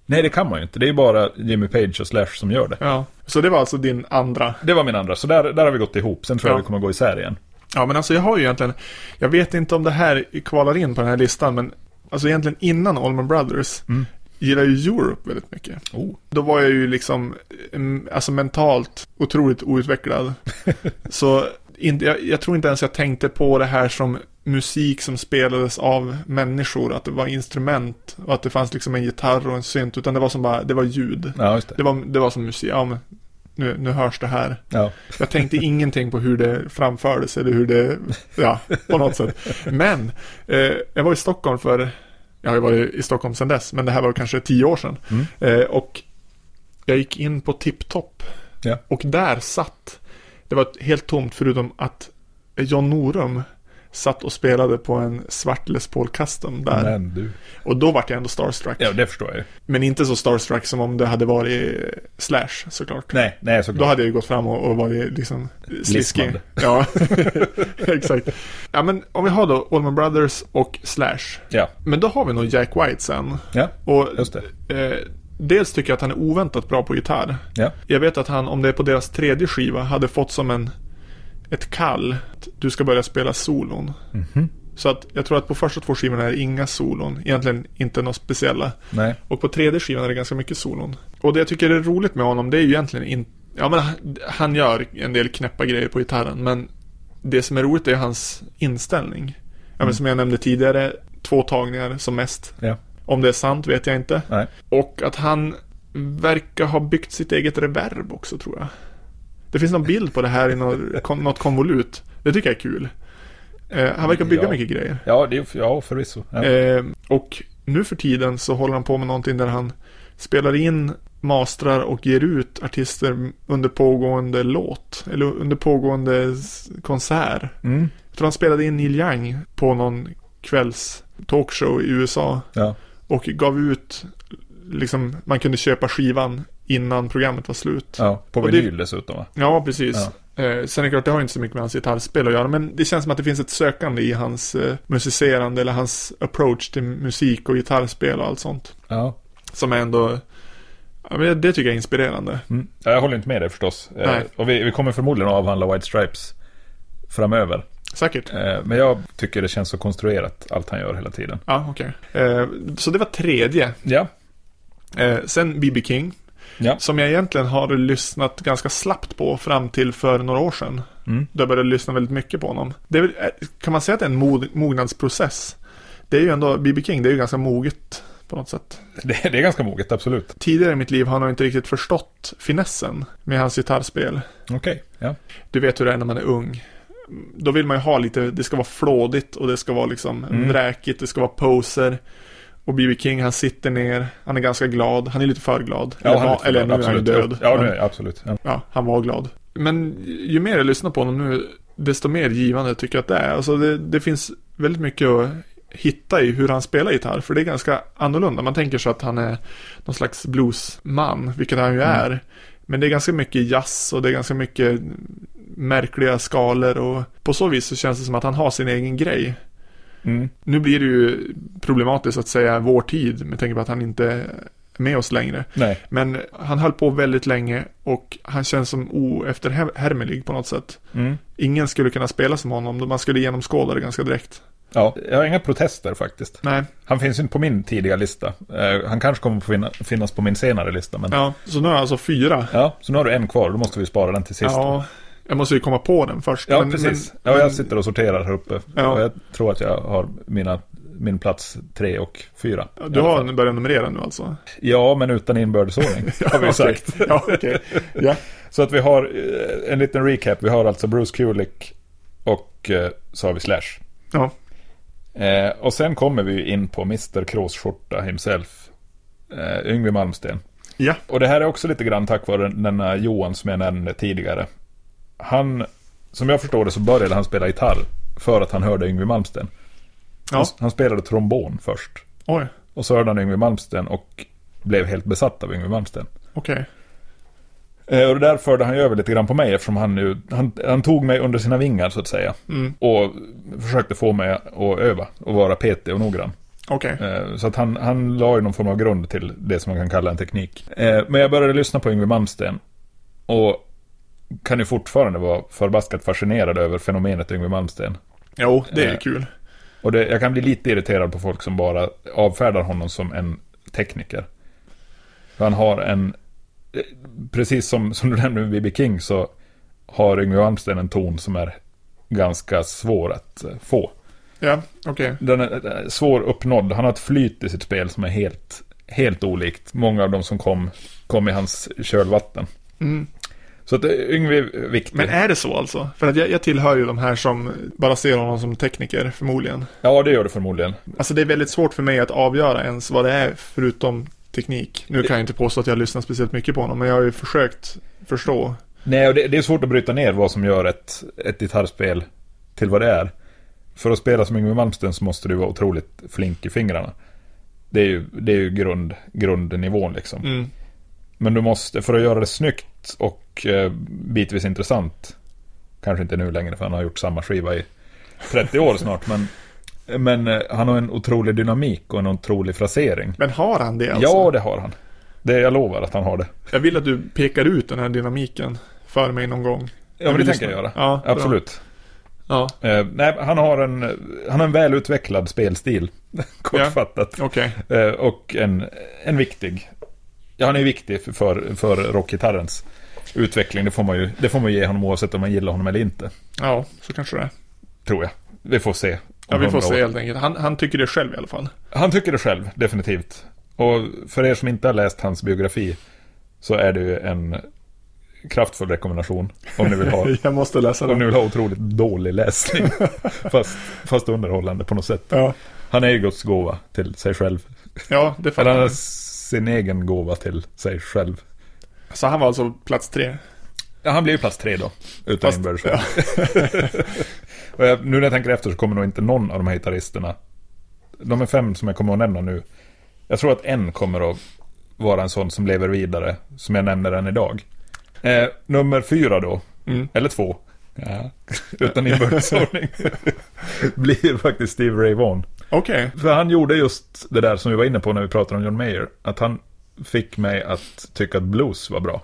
Speaker 1: Nej, det kan man ju inte. Det är ju bara Jimmy Page och Slash som gör det.
Speaker 2: Ja. Så det var alltså din andra.
Speaker 1: Det var min andra, så där, där har vi gått ihop. Sen tror jag
Speaker 2: Ja.
Speaker 1: vi kommer gå isär igen.
Speaker 2: Ja, men alltså jag har ju egentligen... Jag vet inte om det här kvalar in på den här listan, men... Alltså egentligen innan Allman Brothers
Speaker 1: Mm.
Speaker 2: gillar ju Europe väldigt mycket.
Speaker 1: Oh.
Speaker 2: Då var jag ju liksom, mm, alltså mentalt otroligt outvecklad. Så inte, jag, jag tror inte ens jag tänkte på det här som musik som spelades av människor, att det var instrument och att det fanns liksom en gitarr och en synt, utan det var som bara, det var ljud.
Speaker 1: Ja, just det.
Speaker 2: Det var, det var som musik, ja men nu, nu hörs det här.
Speaker 1: Ja.
Speaker 2: Jag tänkte ingenting på hur det framfördes eller hur det, ja, på något sätt. Men, eh, jag var i Stockholm för, jag har ju varit i Stockholm sedan dess, men det här var kanske tio år sedan.
Speaker 1: Mm.
Speaker 2: Eh, och jag gick in på Tipptopp.
Speaker 1: Ja.
Speaker 2: Och där satt, det var helt tomt förutom att John Norum satt och spelade på en svart Les Paul Custom där.
Speaker 1: Men du.
Speaker 2: Och då vart jag ändå starstruck.
Speaker 1: Mm. Ja, det förstår jag ju.
Speaker 2: Men inte så starstruck som om det hade varit Slash såklart.
Speaker 1: Nej, nej
Speaker 2: Då
Speaker 1: såklart.
Speaker 2: hade jag ju gått fram och, och varit liksom sliskig.
Speaker 1: Lismad.
Speaker 2: Ja, exakt. Ja, men om vi har då Allman Brothers och Slash.
Speaker 1: Ja,
Speaker 2: Men då har vi nog Jack White sen.
Speaker 1: ja,
Speaker 2: Och
Speaker 1: just det.
Speaker 2: eh, dels tycker jag att han är oväntat bra på gitarr.
Speaker 1: Ja.
Speaker 2: Jag vet att han, om det är på deras tredje skiva, hade fått som en ett kall. att Du ska börja spela solon.
Speaker 1: Mhm.
Speaker 2: Så att jag tror att på första två skivorna är det inga solon. Egentligen inte några speciella.
Speaker 1: Nej,
Speaker 2: Och på tredje skivan är det ganska mycket solon. Och det jag tycker är roligt med honom, det är ju egentligen inte... Ja men han- han gör en del knäppa grejer på gitarren, men det som är roligt är hans inställning. Ja men
Speaker 1: Mm.
Speaker 2: som jag nämnde tidigare, två tagningar som mest.
Speaker 1: Ja.
Speaker 2: Om det är sant vet jag inte.
Speaker 1: nej.
Speaker 2: Och att han verkar ha byggt sitt eget reverb också tror jag. Det finns någon bild på det här i något, kon- något konvolut. Det tycker jag är kul. Eh, han verkar bygga
Speaker 1: Ja.
Speaker 2: mycket grejer.
Speaker 1: Ja, det, är ju- ja förvisso. Ja.
Speaker 2: Eh, och nu för tiden så håller han på med någonting där han spelar in, mastrar och ger ut artister under pågående låt. Eller under pågående s- konsert.
Speaker 1: Mm.
Speaker 2: Jag tror han spelade in Neil Young på någon kvälls talkshow i USA.
Speaker 1: Ja.
Speaker 2: Och gav ut, liksom, man kunde köpa skivan innan programmet var slut. Ja,
Speaker 1: ja, på
Speaker 2: Och det-
Speaker 1: vinyl dessutom va?
Speaker 2: precis. Eh, sen är det klart, det har ju inte så mycket med hans gitarrspel att göra. Men det känns som att det finns ett sökande i hans eh, musicerande eller hans approach till musik och gitarrspel och allt sånt.
Speaker 1: Ja.
Speaker 2: Som är ändå, ja, men det tycker jag är inspirerande.
Speaker 1: Mm. Ja, jag håller inte med dig förstås. Eh,
Speaker 2: Nej.
Speaker 1: och vi, vi kommer förmodligen att avhandla White Stripes framöver.
Speaker 2: Säkert.
Speaker 1: Eh, men jag tycker det känns så konstruerat, allt han gör hela tiden.
Speaker 2: Ja, okej. Eh, så det var tredje.
Speaker 1: Ja,
Speaker 2: Eh, sen B.B. King.
Speaker 1: Ja.
Speaker 2: Som jag egentligen har lyssnat ganska slappt på fram till för några år sedan.
Speaker 1: Mm.
Speaker 2: Då jag började lyssna väldigt mycket på honom. Det är, väl- eh, kan man säga att det är en mod- mognadsprocess? Det är ju ändå, B.B. King, det är ju ganska moget på något sätt.
Speaker 1: det, det är ganska moget, absolut.
Speaker 2: Tidigare i mitt liv har jag nog inte riktigt förstått finessen med hans gitarrspel.
Speaker 1: Okej, ja.
Speaker 2: Du vet hur det är när man är ung. Då vill man ju ha lite, det ska vara flådigt och det ska vara liksom
Speaker 1: Mm.
Speaker 2: vräkigt, det ska vara poser. Och B.B. King, han sitter ner, han är ganska glad, han är lite för glad.
Speaker 1: ja
Speaker 2: eller,
Speaker 1: han Mm. är
Speaker 2: var-
Speaker 1: lite
Speaker 2: eller nu
Speaker 1: förlorad,
Speaker 2: är han
Speaker 1: absolut.
Speaker 2: död.
Speaker 1: Ja,
Speaker 2: Men-
Speaker 1: nu, är- absolut. Ja.
Speaker 2: ja, han var glad. Men ju mer jag lyssnar på honom nu, desto mer givande tycker jag att det är. Alltså det, det finns väldigt mycket att hitta i hur han spelar gitarr, för det är ganska annorlunda. Man tänker sig att han är någon slags bluesman, vilket han ju
Speaker 1: Mm.
Speaker 2: är. Men det är ganska mycket jazz och det är ganska mycket märkliga skalor och på så vis så känns det som att han har sin egen grej.
Speaker 1: Mm.
Speaker 2: Nu blir det ju problematiskt att säga vår tid med tanke på att han inte är med oss längre.
Speaker 1: Nej,
Speaker 2: Men han höll på väldigt länge och han känns som oefterhärmlig på något sätt.
Speaker 1: mm.
Speaker 2: Ingen skulle kunna spela som honom, man skulle genomskåda det ganska direkt.
Speaker 1: Ja, jag har inga protester faktiskt.
Speaker 2: Nej,
Speaker 1: Han finns ju inte på min tidiga lista. Eh, han kanske kommer att finna, finnas på min senare lista, men... Ja.
Speaker 2: ja, så nu har jag alltså fyra.
Speaker 1: så nu har du en kvar, då måste vi spara den till sist. Ja,
Speaker 2: Ja, jag måste ju komma på den först. men-
Speaker 1: precis.
Speaker 2: men-
Speaker 1: ja, jag sitter och sorterar här uppe.
Speaker 2: Ja.
Speaker 1: Och jag tror att jag har mina, min plats tre och fyra.
Speaker 2: men-
Speaker 1: i
Speaker 2: Du
Speaker 1: alla
Speaker 2: har
Speaker 1: fall.
Speaker 2: börjat numrera nu alltså?
Speaker 1: Ja, men utan inbördesordning. har vi
Speaker 2: okej.
Speaker 1: sagt.
Speaker 2: Ja, okej. Ja.
Speaker 1: Så att vi har eh, en liten recap. Vi har alltså Bruce Kulick och eh, så har vi Slash.
Speaker 2: Ja.
Speaker 1: Eh, och sen kommer vi ju in på Mr. Kråsskjorta himself. Eh, Yngwie Malmsten.
Speaker 2: Ja.
Speaker 1: Och det här är också lite grann tack vare denna Johan som jag nämnde tidigare. Han, som jag förstår det så började han spela gitarr för att han hörde Yngwie Malmsten. Han,
Speaker 2: ja.
Speaker 1: han spelade trombon först.
Speaker 2: Oj,
Speaker 1: Och så hörde han Yngwie Malmsten och blev helt besatt av Yngwie Malmsten.
Speaker 2: okej.
Speaker 1: Eh, Och det där förde han ju över lite grann på mig eftersom han nu, han, han tog mig under sina vingar så att säga.
Speaker 2: Mm.
Speaker 1: Och försökte få mig att öva och vara petig och noggrann.
Speaker 2: Okej.
Speaker 1: Eh, Så att han, han la ju någon form av grund till det som man kan kalla en teknik. Eh, Men jag började lyssna på Yngwie Malmsten. Och kan ju fortfarande vara förbaskat fascinerad över fenomenet Yngwie Malmsten.
Speaker 2: Jo, det är
Speaker 1: Eh.
Speaker 2: kul.
Speaker 1: Och det, jag kan bli lite irriterad på folk som bara avfärdar honom som en tekniker. För han har en... eh, Precis som, som du nämnde med B.B. King så har Yngwie Malmsteen en ton som är ganska svår att eh, få.
Speaker 2: Ja, okej.
Speaker 1: Den är eh, svår uppnådd. Han har ett flyt i sitt spel som är helt, helt olikt många av de som kom, kom i hans kölvatten.
Speaker 2: Mm.
Speaker 1: Så att eh, Yngwie är viktig.
Speaker 2: Men är det så alltså? För att jag, jag tillhör ju de här som bara ser honom som tekniker, förmodligen.
Speaker 1: Ja, det gör det förmodligen.
Speaker 2: Alltså det är väldigt svårt för mig att avgöra ens vad det är förutom teknik. Nu kan jag inte påstå att jag lyssnar speciellt mycket på honom, men jag har ju försökt förstå.
Speaker 1: Nej, och det, det är svårt att bryta ner vad som gör ett, ett gitarrspel till vad det är. för att spela som Yngwie Malmsteen så måste du vara otroligt flink i fingrarna. Det är ju, det är ju grund, grundnivån liksom.
Speaker 2: Mm.
Speaker 1: Men du måste, för att göra det snyggt och eh, bitvis intressant, kanske inte nu längre för han har gjort samma skiva i 30 år snart, men, men eh, han har en otrolig dynamik och en otrolig frasering.
Speaker 2: Men har han det alltså?
Speaker 1: Ja, det har han. Det, jag lovar att han har det.
Speaker 2: Jag vill att du pekar ut den här dynamiken för mig någon gång.
Speaker 1: Ja, men
Speaker 2: vill
Speaker 1: det tänker jag
Speaker 2: lyssna.
Speaker 1: göra.
Speaker 2: Ja, bra.
Speaker 1: Absolut.
Speaker 2: Ja,
Speaker 1: Eh, nej, han, har en, han har en välutvecklad spelstil, kortfattat.
Speaker 2: okej.
Speaker 1: Eh, och en, en viktig. Ja, han är viktig för, för, för rockgitarrens utveckling. Det får, man ju, det får man ju ge honom oavsett om man gillar honom eller inte.
Speaker 2: Ja, så kanske det är.
Speaker 1: Tror jag. Vi får se. om
Speaker 2: Ja, vi får
Speaker 1: 100
Speaker 2: se
Speaker 1: år.
Speaker 2: helt enkelt. Han, han tycker det själv i alla fall.
Speaker 1: Han tycker det själv, definitivt. Och för er som inte har läst hans biografi så är det ju en kraftfull rekommendation. Om ni vill ha,
Speaker 2: Jag måste läsa
Speaker 1: om ni vill ha otroligt dålig läsning. Fast, fast underhållande på något sätt.
Speaker 2: Ja,
Speaker 1: Han är ju Guds gåva till sig själv.
Speaker 2: ja det
Speaker 1: Eller
Speaker 2: fattar
Speaker 1: han är
Speaker 2: jag.
Speaker 1: sin egen gåva till sig själv.
Speaker 2: Så han var alltså plats tre?
Speaker 1: Ja, han blir ju plats tre då. Utan
Speaker 2: Fast-
Speaker 1: inbördes. Och jag- nu när jag tänker efter så kommer nog inte någon av de här gitarristerna. De är fem som jag kommer att nämna nu. Jag tror att en kommer att vara en sån som lever vidare. Som jag nämner än idag. Eh, nummer fyra då.
Speaker 2: Mm.
Speaker 1: Eller två. Utan inbördesordning. blir faktiskt Steve Ray Vaughan.
Speaker 2: Okej.
Speaker 1: För han gjorde just det där som vi var inne på när vi pratade om John Mayer. Att han fick mig att tycka att blues var bra.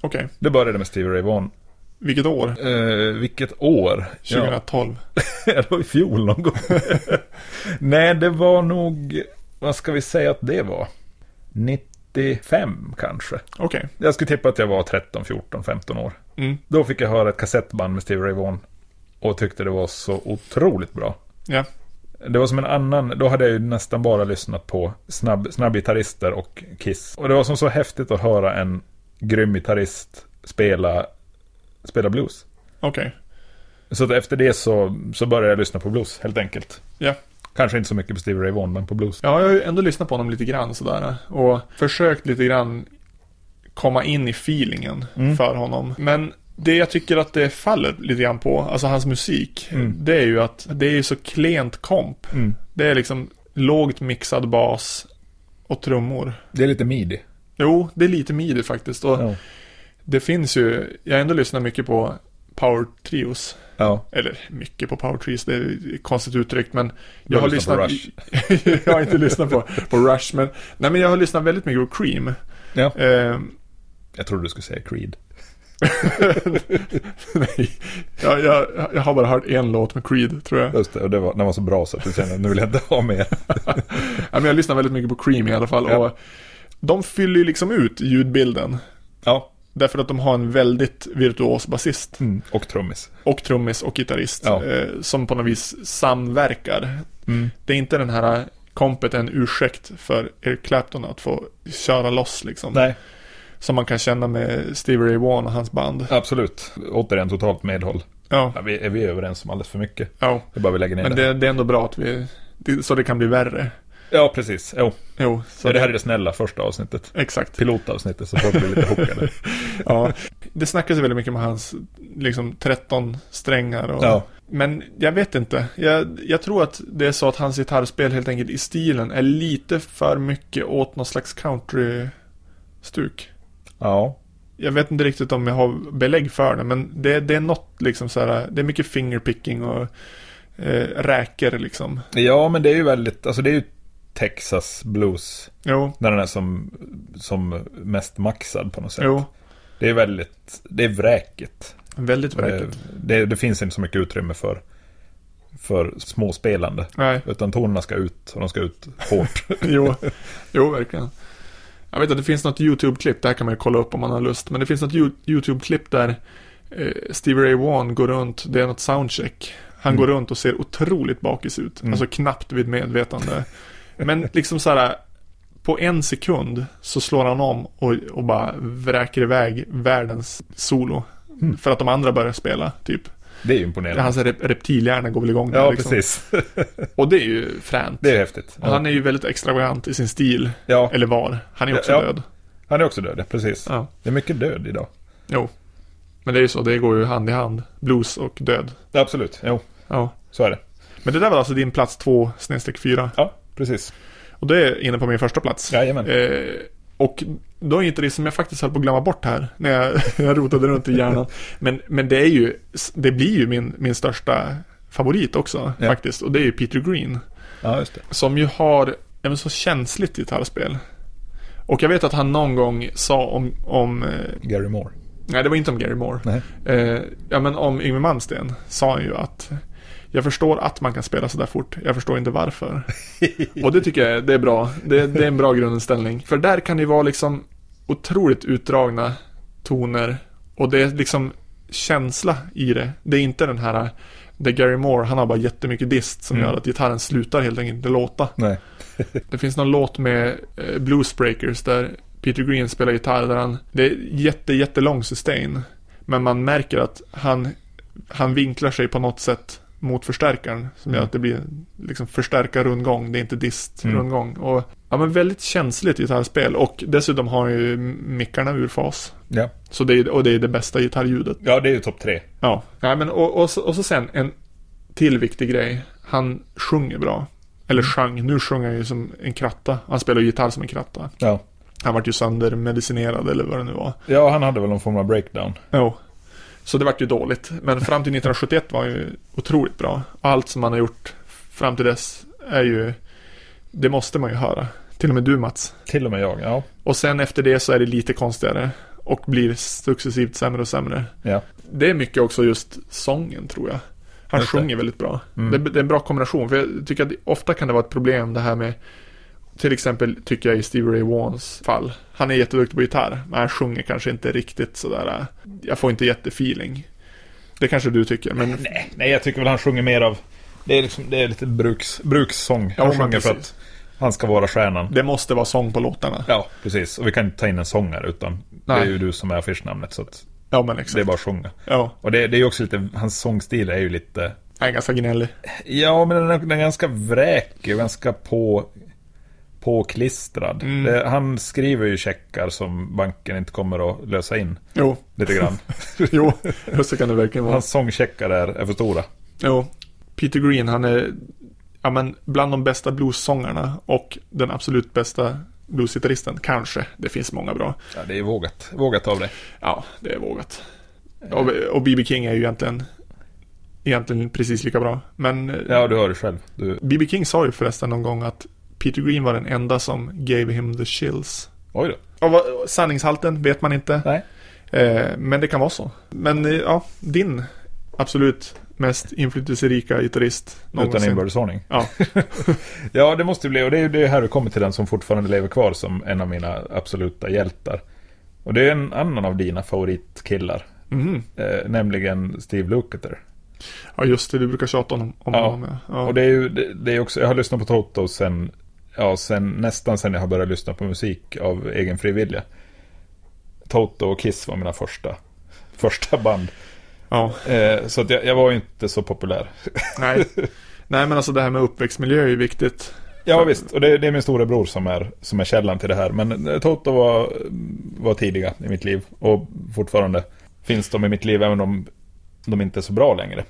Speaker 2: Okej.
Speaker 1: Det började med Steve Ray Vaughan.
Speaker 2: Vilket år?
Speaker 1: Eh, vilket år?
Speaker 2: 2012.
Speaker 1: Ja, det var i fjol någon gång. Nej, det var nog, vad ska vi säga att det var? 95 kanske.
Speaker 2: Okej.
Speaker 1: Jag skulle tippa att jag var 13, 14, 15 år.
Speaker 2: Mm.
Speaker 1: Då fick jag höra ett kassettband med Stevie Ray Vaughan och tyckte det var så otroligt bra.
Speaker 2: Ja.
Speaker 1: Det var som en annan, då hade jag ju nästan bara lyssnat på snabb, snabbgitarrister och Kiss. Och det var som så häftigt att höra en grym gitarrist spela, spela blues.
Speaker 2: Okej.
Speaker 1: Så att efter det så, så började jag lyssna på blues, helt enkelt.
Speaker 2: Ja.
Speaker 1: Kanske inte så mycket på Stevie Ray Vaughan, men på blues.
Speaker 2: Ja, jag har ju ändå lyssnat på honom lite grann sådär. Och försökt lite grann komma in i feelingen för honom. Men det jag tycker att det faller lite grann på, alltså hans musik, det är ju att det är ju så klent komp.
Speaker 1: Mm.
Speaker 2: Det är liksom lågt mixad bas och trummor.
Speaker 1: Det är lite midi.
Speaker 2: Jo, det är lite midi faktiskt. Och
Speaker 1: Ja.
Speaker 2: det finns ju, jag har ändå lyssnat mycket på Power Trios.
Speaker 1: Ja.
Speaker 2: Eller mycket på Power Trees, det är ett konstigt uttryckt men
Speaker 1: Du
Speaker 2: jag
Speaker 1: har
Speaker 2: har, lyssnat,
Speaker 1: lyssnat på
Speaker 2: jag har inte lyssnat på, på Rush men Nej men jag har lyssnat väldigt mycket på Cream
Speaker 1: ja.
Speaker 2: eh,
Speaker 1: Jag trodde du skulle säga Creed.
Speaker 2: Nej jag, jag, jag har bara hört en låt med Creed tror jag
Speaker 1: Just det, och det var, den var så bra så att du kände nu vill jag inte ha mer.
Speaker 2: Nej, men jag lyssnar väldigt mycket på Cream i alla fall
Speaker 1: Ja.
Speaker 2: och De fyller ju liksom ut ljudbilden
Speaker 1: Ja.
Speaker 2: Därför att de har en väldigt virtuos basist
Speaker 1: Mm. Och trummis.
Speaker 2: och trummis och gitarrist
Speaker 1: Ja.
Speaker 2: eh, Som på något vis samverkar
Speaker 1: Mm.
Speaker 2: Det är inte den här kompet en ursäkt för Eric Clapton att få köra loss liksom.
Speaker 1: Nej,
Speaker 2: Som man kan känna med Stevie Ray Vaughan och hans band.
Speaker 1: absolut. Återigen totalt medhåll.
Speaker 2: Ja,
Speaker 1: Ja, vi, är vi överens om alldeles för mycket?
Speaker 2: ja.
Speaker 1: Det är bara vi lägger ner
Speaker 2: Men
Speaker 1: det.
Speaker 2: det, det är ändå bra att vi... Det, så det kan bli värre.
Speaker 1: Ja, precis. Jo,
Speaker 2: Jo, så
Speaker 1: så det här är det snälla första avsnittet.
Speaker 2: Exakt.
Speaker 1: Pilotavsnittet, så folk blir lite hookade.
Speaker 2: Ja. Det snackas ju väldigt mycket om hans liksom 13 strängar och...
Speaker 1: Ja.
Speaker 2: Men jag vet inte. Jag, jag tror att det är så att hans gitarrspel helt enkelt i stilen är lite för mycket åt någon slags country-stuk.
Speaker 1: Ja.
Speaker 2: Jag vet inte riktigt om jag har belägg för det, men det, det är något liksom så här, det är mycket fingerpicking och eh, räker liksom.
Speaker 1: Ja, men det är ju väldigt, alltså det är ju Texas blues.
Speaker 2: Jo,
Speaker 1: När den är som, som mest maxad på något sätt.
Speaker 2: jo,
Speaker 1: Det är väldigt, det är vräkigt.
Speaker 2: väldigt
Speaker 1: Det,
Speaker 2: vräkigt.
Speaker 1: det, det finns inte så mycket utrymme för, för småspelande.
Speaker 2: Nej,
Speaker 1: Utan tonerna ska ut och de ska ut hårt.
Speaker 2: jo, jo, verkligen. Jag vet att det finns något YouTube-klipp, det här kan man ju kolla upp om man har lust, men det finns något You- YouTube-klipp där eh, Stevie Ray Vaughan går runt, det är något soundcheck. Han går runt och ser otroligt bakis ut,
Speaker 1: Mm.
Speaker 2: alltså knappt vid medvetande. Men liksom så här, på en sekund så slår han om och, och bara vräker iväg världens solo.
Speaker 1: Mm.
Speaker 2: För att de andra börjar spela, typ.
Speaker 1: Det är ju imponerande.
Speaker 2: Hans rep- reptilhjärna går väl igång där
Speaker 1: ja,
Speaker 2: liksom.
Speaker 1: precis.
Speaker 2: Och det är ju fränt.
Speaker 1: Det är ju häftigt.
Speaker 2: Och han är ju väldigt extravagant i sin stil.
Speaker 1: ja,
Speaker 2: Eller var. Han är också
Speaker 1: Ja.
Speaker 2: död.
Speaker 1: han är också död, ja, precis.
Speaker 2: Ja.
Speaker 1: Det är mycket död idag.
Speaker 2: Jo. Men det är ju så, det går ju hand i hand. Blues och död.
Speaker 1: Absolut, jo,
Speaker 2: Ja.
Speaker 1: så är det.
Speaker 2: Men det där var alltså din plats 2 4.
Speaker 1: Ja, precis.
Speaker 2: Och det är inne på min första plats.
Speaker 1: Jajamän.
Speaker 2: Eh, och då är inte det som jag faktiskt höll på att glömma bort här när jag, jag rotade runt i hjärnan. Men, men det är ju, det blir ju min, min största favorit också
Speaker 1: Ja.
Speaker 2: faktiskt. Och det är ju Peter Green.
Speaker 1: Ja, just det.
Speaker 2: Som ju har ja, men så känsligt gitarrspel. Och jag vet att han någon gång sa om, om eh,
Speaker 1: Gary Moore.
Speaker 2: nej det var inte om Gary Moore.
Speaker 1: Nej.
Speaker 2: Eh, ja men om Yngwie Malmsteen sa han ju att jag förstår att man kan spela sådär fort, jag förstår inte varför. Och det tycker jag är- det är bra. Det, det är en bra grundinställning. För där kan det ju vara liksom otroligt utdragna toner och det är liksom känsla i det. Det är inte den här, det är Gary Moore, han har bara jättemycket dist som
Speaker 1: Mm.
Speaker 2: gör att gitarren slutar helt enkelt inte låta.
Speaker 1: Nej.
Speaker 2: Det finns någon låt med eh, Bluesbreakers där Peter Green spelar gitarr där han, det är jätte, jättelång sustain. Men man märker att han, han vinklar sig på något sätt mot förstärkaren. Som gör
Speaker 1: Mm.
Speaker 2: att det blir liksom förstärkar-rundgång, det är inte
Speaker 1: Mm.
Speaker 2: dist-rundgång. Och ja men väldigt känsligt gitarrspel och dessutom har han ju mickarna ur fas.
Speaker 1: Ja.
Speaker 2: Så det är, och det är det bästa gitarrljudet.
Speaker 1: ja, det är ju topp tre.
Speaker 2: Ja, nej men och, och, så, och så sen en till viktig grej. Han sjunger bra. Eller sjöng. Nu sjunger han ju som en kratta. Han spelar ju gitarr som en kratta.
Speaker 1: Ja.
Speaker 2: Han vart ju söndermedicinerad eller vad det nu var.
Speaker 1: ja, han hade väl någon form av breakdown.
Speaker 2: Jo. Så det vart ju dåligt. Men fram till 1971 var han ju otroligt bra. Allt som han har gjort fram till dess är ju... Det måste man ju höra. Till och med du Mats.
Speaker 1: Till och med jag. Ja.
Speaker 2: Och sen efter det så är det lite konstigare. Och blir successivt sämre och sämre.
Speaker 1: ja.
Speaker 2: Det är mycket också just sången tror jag. Han
Speaker 1: Just det.
Speaker 2: sjunger väldigt bra.
Speaker 1: Mm.
Speaker 2: Det, det är en bra kombination. För jag tycker att det- ofta kan det vara ett problem det här med till exempel tycker jag i Stevie Ray Vaughans fall. Han är jätteduktig på gitarr, men han sjunger kanske inte riktigt sådär. äh, Jag får inte jättefeeling. Det kanske du tycker, men
Speaker 1: Nej, Eh, nej, jag tycker väl han sjunger mer av... Det är, liksom, det är lite bruks, brukssång.
Speaker 2: Ja,
Speaker 1: Han
Speaker 2: men
Speaker 1: sjunger för
Speaker 2: precis.
Speaker 1: att han ska vara stjärnan.
Speaker 2: det måste vara sång på låtarna. Ja,
Speaker 1: Ja, precis. Och vi kan inte ta in en sångare utan det är
Speaker 2: Nej.
Speaker 1: ju du som är affischnamnet. Så att
Speaker 2: men
Speaker 1: det är
Speaker 2: exakt.
Speaker 1: bara att sjunga.
Speaker 2: Ja,
Speaker 1: Och det, det är ju också lite, hans sångstil är ju lite...
Speaker 2: han är ganska gnällig.
Speaker 1: Ja, men den är, den är ganska vräkig och ganska på, påklistrad.
Speaker 2: Mm.
Speaker 1: Det, han skriver ju checkar som banken inte kommer att lösa in.
Speaker 2: Jo,
Speaker 1: Lite grann.
Speaker 2: jo, så kan det verkligen vara.
Speaker 1: Hans sångcheckar är, är för stora.
Speaker 2: Jo. Peter Green, han är ja, men bland de bästa bluessångarna och den absolut bästa bluesgitarristen, kanske. Det finns många bra.
Speaker 1: Ja, det är vågat. Vågat av dig.
Speaker 2: Ja, det är vågat. Och,
Speaker 1: Eh.
Speaker 2: och B.B. King är ju egentligen, egentligen precis lika bra. Men eh,
Speaker 1: Ja, du hör det själv. Du...
Speaker 2: B.B. King sa ju förresten någon gång att Peter Green var den enda som gave him the chills.
Speaker 1: Oj då.
Speaker 2: Och vad- sanningshalten vet man inte,
Speaker 1: Nej.
Speaker 2: eh, men det kan vara så. Men eh, ja, din absolut mest inflytelserika gitarrist någonsin.
Speaker 1: Utan inbördesordning.
Speaker 2: Ja.
Speaker 1: ja, det måste det bli. Och det är ju det är här vi kommer till den som fortfarande lever kvar som en av mina absoluta hjältar. Och det är en annan av dina favoritkillar.
Speaker 2: Mhm.
Speaker 1: Eh, nämligen Steve Lukather.
Speaker 2: Ja just det, du brukar tjata om, om
Speaker 1: Ja.
Speaker 2: honom. Ja. Ja.
Speaker 1: Och det är ju det, det är också, jag har lyssnat på Toto sen, ja, sen, nästan sen jag har börjat lyssna på musik av egen frivilliga. Toto och Kiss var mina första, första band.
Speaker 2: ja.
Speaker 1: Eh, så att jag, jag var ju inte så populär.
Speaker 2: Nej. Nej men alltså det här med uppväxtmiljö är ju viktigt.
Speaker 1: Ja visst, och det, det är min storebror som är, som är källan till det här. Men eh, Toto var, var tidiga i mitt liv och fortfarande finns de i mitt liv även om de inte är så bra längre.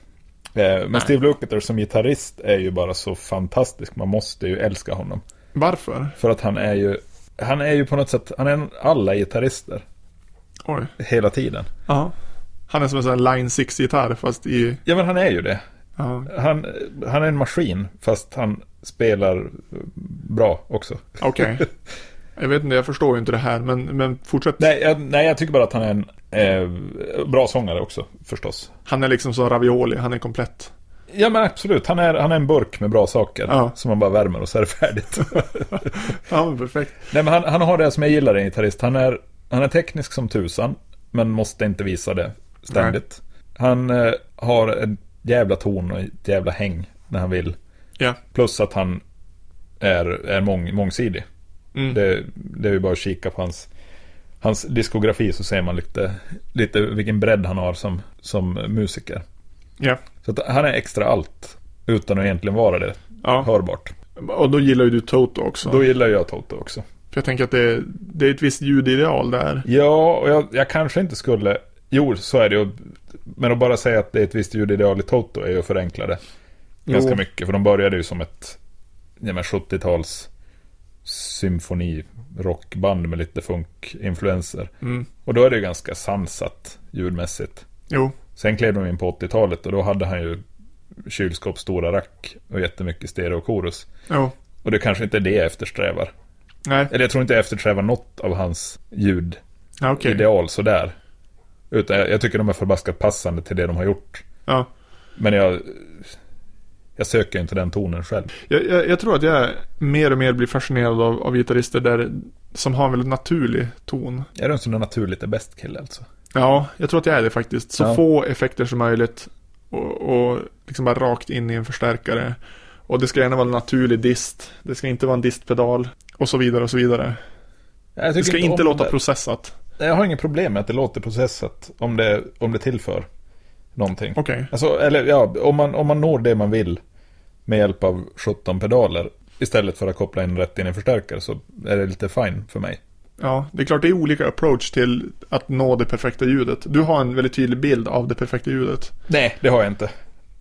Speaker 1: Eh, Men
Speaker 2: Nej.
Speaker 1: Steve Lukather som gitarrist är ju bara så fantastisk. Man måste ju älska honom.
Speaker 2: Varför?
Speaker 1: För att han är ju, han är ju på något sätt, han är en alla gitarrister
Speaker 2: Oj.
Speaker 1: hela tiden.
Speaker 2: Ja. Han är som en sån här Line 6-gitarr fast i...
Speaker 1: Ja men han är ju det.
Speaker 2: Ja.
Speaker 1: Han, han är en maskin fast han spelar eh, bra också.
Speaker 2: Okej. Jag vet inte, jag förstår ju inte det här men, men fortsätt.
Speaker 1: Nej jag, nej, jag tycker bara att han är en eh, bra sångare också förstås.
Speaker 2: Han är liksom så ravioli, han är komplett.
Speaker 1: Ja men absolut, han är, han är en burk med bra saker.
Speaker 2: Ja.
Speaker 1: Som man bara värmer och så är det färdigt.
Speaker 2: Ja men perfekt.
Speaker 1: nej men han, han har det som jag gillar i en gitarrist. Han är, han är teknisk som tusan. Men måste inte visa det ständigt. Han eh, har en jävla ton och ett jävla häng när han vill.
Speaker 2: Ja.
Speaker 1: Plus att han är, är mång, mångsidig.
Speaker 2: Mm.
Speaker 1: Det, det är ju bara att kika på hans, hans diskografi så ser man lite, lite vilken bredd han har som, som musiker.
Speaker 2: Ja.
Speaker 1: Så att han är extra allt utan att egentligen vara det.
Speaker 2: ja.
Speaker 1: Hörbart.
Speaker 2: Och då gillar ju du Toto också.
Speaker 1: Då gillar jag Toto också.
Speaker 2: För jag tänker att det, det är ett visst ljudideal där.
Speaker 1: Ja, och jag, jag kanske inte skulle... Jo, så är det ju. Men att bara säga att det är ett visst ljudideal i Toto är ju att förenkla det. ganska
Speaker 2: Jo.
Speaker 1: mycket. För de började ju som ett ja, men 70-tals symfonirockband med lite funkinfluenser.
Speaker 2: Mm.
Speaker 1: Och då är det ju ganska sansat ljudmässigt.
Speaker 2: Jo,
Speaker 1: Sen klev de in på 80-talet och då hade han ju kylskåp, stora rack och jättemycket stereokorus.
Speaker 2: jo.
Speaker 1: Och det kanske inte är det jag eftersträvar.
Speaker 2: Nej,
Speaker 1: Eller jag tror inte jag eftersträvar något av hans ljudideal
Speaker 2: ja, okej.
Speaker 1: sådär. Utan jag, jag tycker de är förbaskat passande till det de har gjort.
Speaker 2: Ja.
Speaker 1: Men jag, jag söker ju inte den tonen själv.
Speaker 2: Jag, jag, jag tror att jag mer och mer blir fascinerad av, av gitarrister där, som har en väldigt naturlig ton.
Speaker 1: Är du en sån där naturligt är bäst kille alltså?
Speaker 2: Ja, jag tror att jag är det faktiskt. Så
Speaker 1: Ja.
Speaker 2: få effekter som möjligt och, och liksom bara rakt in i en förstärkare. Och det ska gärna vara en naturlig dist. Det ska inte vara en distpedal. Och så vidare och så vidare.
Speaker 1: Jag
Speaker 2: Det
Speaker 1: tycker
Speaker 2: ska inte,
Speaker 1: om
Speaker 2: låta
Speaker 1: det.
Speaker 2: processat.
Speaker 1: Jag har inget problem med att det låter processat om det, om det tillför någonting.
Speaker 2: Okej.
Speaker 1: Alltså, eller ja, om man, om man når det man vill med hjälp av 17 pedaler istället för att koppla in rätt in i en förstärkare så är det lite fine för mig.
Speaker 2: Ja, det är klart det är olika approach till att nå det perfekta ljudet. Du har en väldigt tydlig bild av det perfekta ljudet.
Speaker 1: Nej, det har jag inte.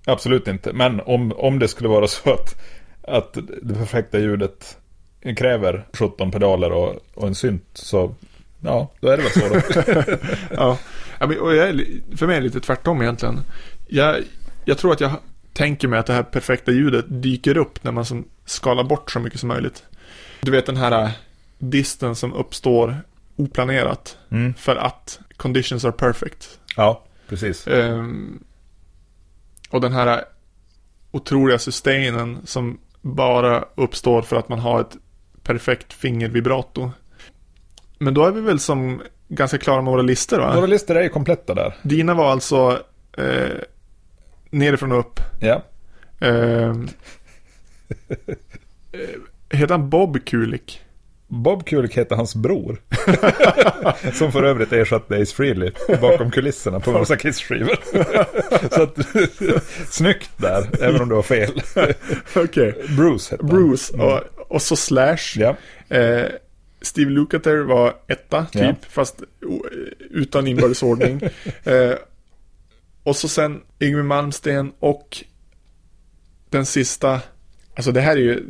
Speaker 1: Absolut inte. Men om, om det skulle vara så att, att det perfekta ljudet kräver 17 pedaler och, och en synt så ja, då är det väl så då.
Speaker 2: Ja, Ja, men, och jag är, li- för mig är det lite tvärtom egentligen. Jag, jag tror att jag tänker mig att det här perfekta ljudet dyker upp när man som skalar bort så mycket som möjligt. Du vet den här äh, disten som uppstår oplanerat
Speaker 1: Mm.
Speaker 2: för att conditions are perfect.
Speaker 1: Ja, precis.
Speaker 2: Ehm, och den här äh, otroliga sustainen som bara uppstår för att man har ett perfekt fingervibrato. Men då är vi väl som ganska klara med våra listor va?
Speaker 1: Våra listor är ju kompletta där.
Speaker 2: Dina var alltså eh, nerifrån och upp.
Speaker 1: Ja.
Speaker 2: Eh, eh, heter han Bob Kulik?
Speaker 1: Bob Kulick heter hans bror. som för övrigt ersatte Ace Frehley bakom kulisserna på Rosa Kiss-skivor. så att, snyggt där, även om det var fel.
Speaker 2: Okej.
Speaker 1: Bruce hette han.
Speaker 2: Bruce och, och så Slash.
Speaker 1: Mm. Ja,
Speaker 2: Eh, Steve Lukather var etta typ,
Speaker 1: Ja.
Speaker 2: fast o- eh, utan inbördes ordning. eh, och så sen Yngwie Malmsteen och den sista, alltså det här är ju,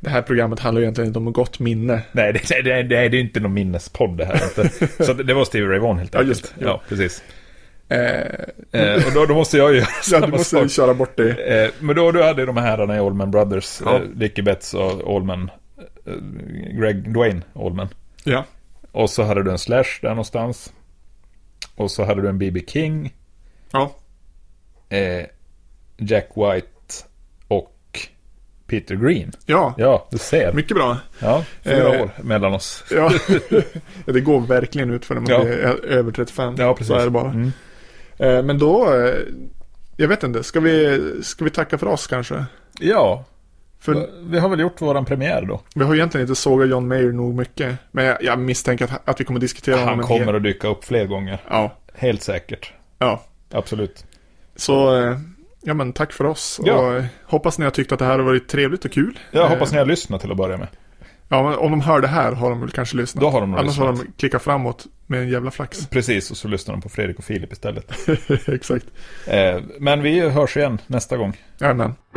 Speaker 2: det här programmet handlar ju egentligen inte om gott minne.
Speaker 1: nej det, det, det, det är ju inte någon minnespodd det här. Inte. Så att det var Stevie Ray Vaughan helt
Speaker 2: Ja,
Speaker 1: enkelt.
Speaker 2: just det.
Speaker 1: Ja, precis.
Speaker 2: Eh,
Speaker 1: Eh, och då, då måste jag ju göra
Speaker 2: ja,
Speaker 1: samma
Speaker 2: du måste
Speaker 1: sak.
Speaker 2: köra bort det.
Speaker 1: Eh, men då du hade ju de här herrarna i Allman Brothers,
Speaker 2: Ja.
Speaker 1: eh, Dickie Betts och Allman, eh, Greg Dwayne Allman.
Speaker 2: Ja.
Speaker 1: Och så hade du en Slash där någonstans. Och så hade du en BB King,
Speaker 2: Ja.
Speaker 1: eh, Jack White och Peter Green.
Speaker 2: Ja,
Speaker 1: Ja, du ser.
Speaker 2: mycket bra.
Speaker 1: Ja, fyra
Speaker 2: Eh.
Speaker 1: år mellan oss.
Speaker 2: Ja. Ja, det går verkligen ut för när man
Speaker 1: Ja.
Speaker 2: blir ö- över 35.
Speaker 1: Ja, precis.
Speaker 2: Så är det bara.
Speaker 1: Mm.
Speaker 2: Eh, Men då, eh, jag vet inte, ska vi, ska vi tacka för oss kanske?
Speaker 1: Ja,
Speaker 2: För
Speaker 1: vi har väl gjort våran premiär då.
Speaker 2: vi har egentligen inte sågat John Mayer nog mycket. Men jag, jag misstänker att, att vi kommer diskutera
Speaker 1: Han
Speaker 2: honom. en
Speaker 1: kommer
Speaker 2: hel-
Speaker 1: att dyka upp fler gånger.
Speaker 2: Ja,
Speaker 1: Helt säkert.
Speaker 2: ja.
Speaker 1: Absolut.
Speaker 2: Så, eh, ja men tack för oss.
Speaker 1: Ja.
Speaker 2: Och eh, hoppas ni har tyckt att det här har varit trevligt och kul.
Speaker 1: Jag
Speaker 2: Eh,
Speaker 1: hoppas ni har lyssnat till att börja med.
Speaker 2: Ja, men om de hör det här har de väl kanske lyssnat.
Speaker 1: Då har de nog
Speaker 2: Annars har
Speaker 1: lyssnat.
Speaker 2: de klickat framåt med en jävla flax.
Speaker 1: Precis, och så lyssnar de på Fredrik och Filip istället.
Speaker 2: Exakt.
Speaker 1: Eh, Men vi hörs igen nästa gång.
Speaker 2: Jajamän.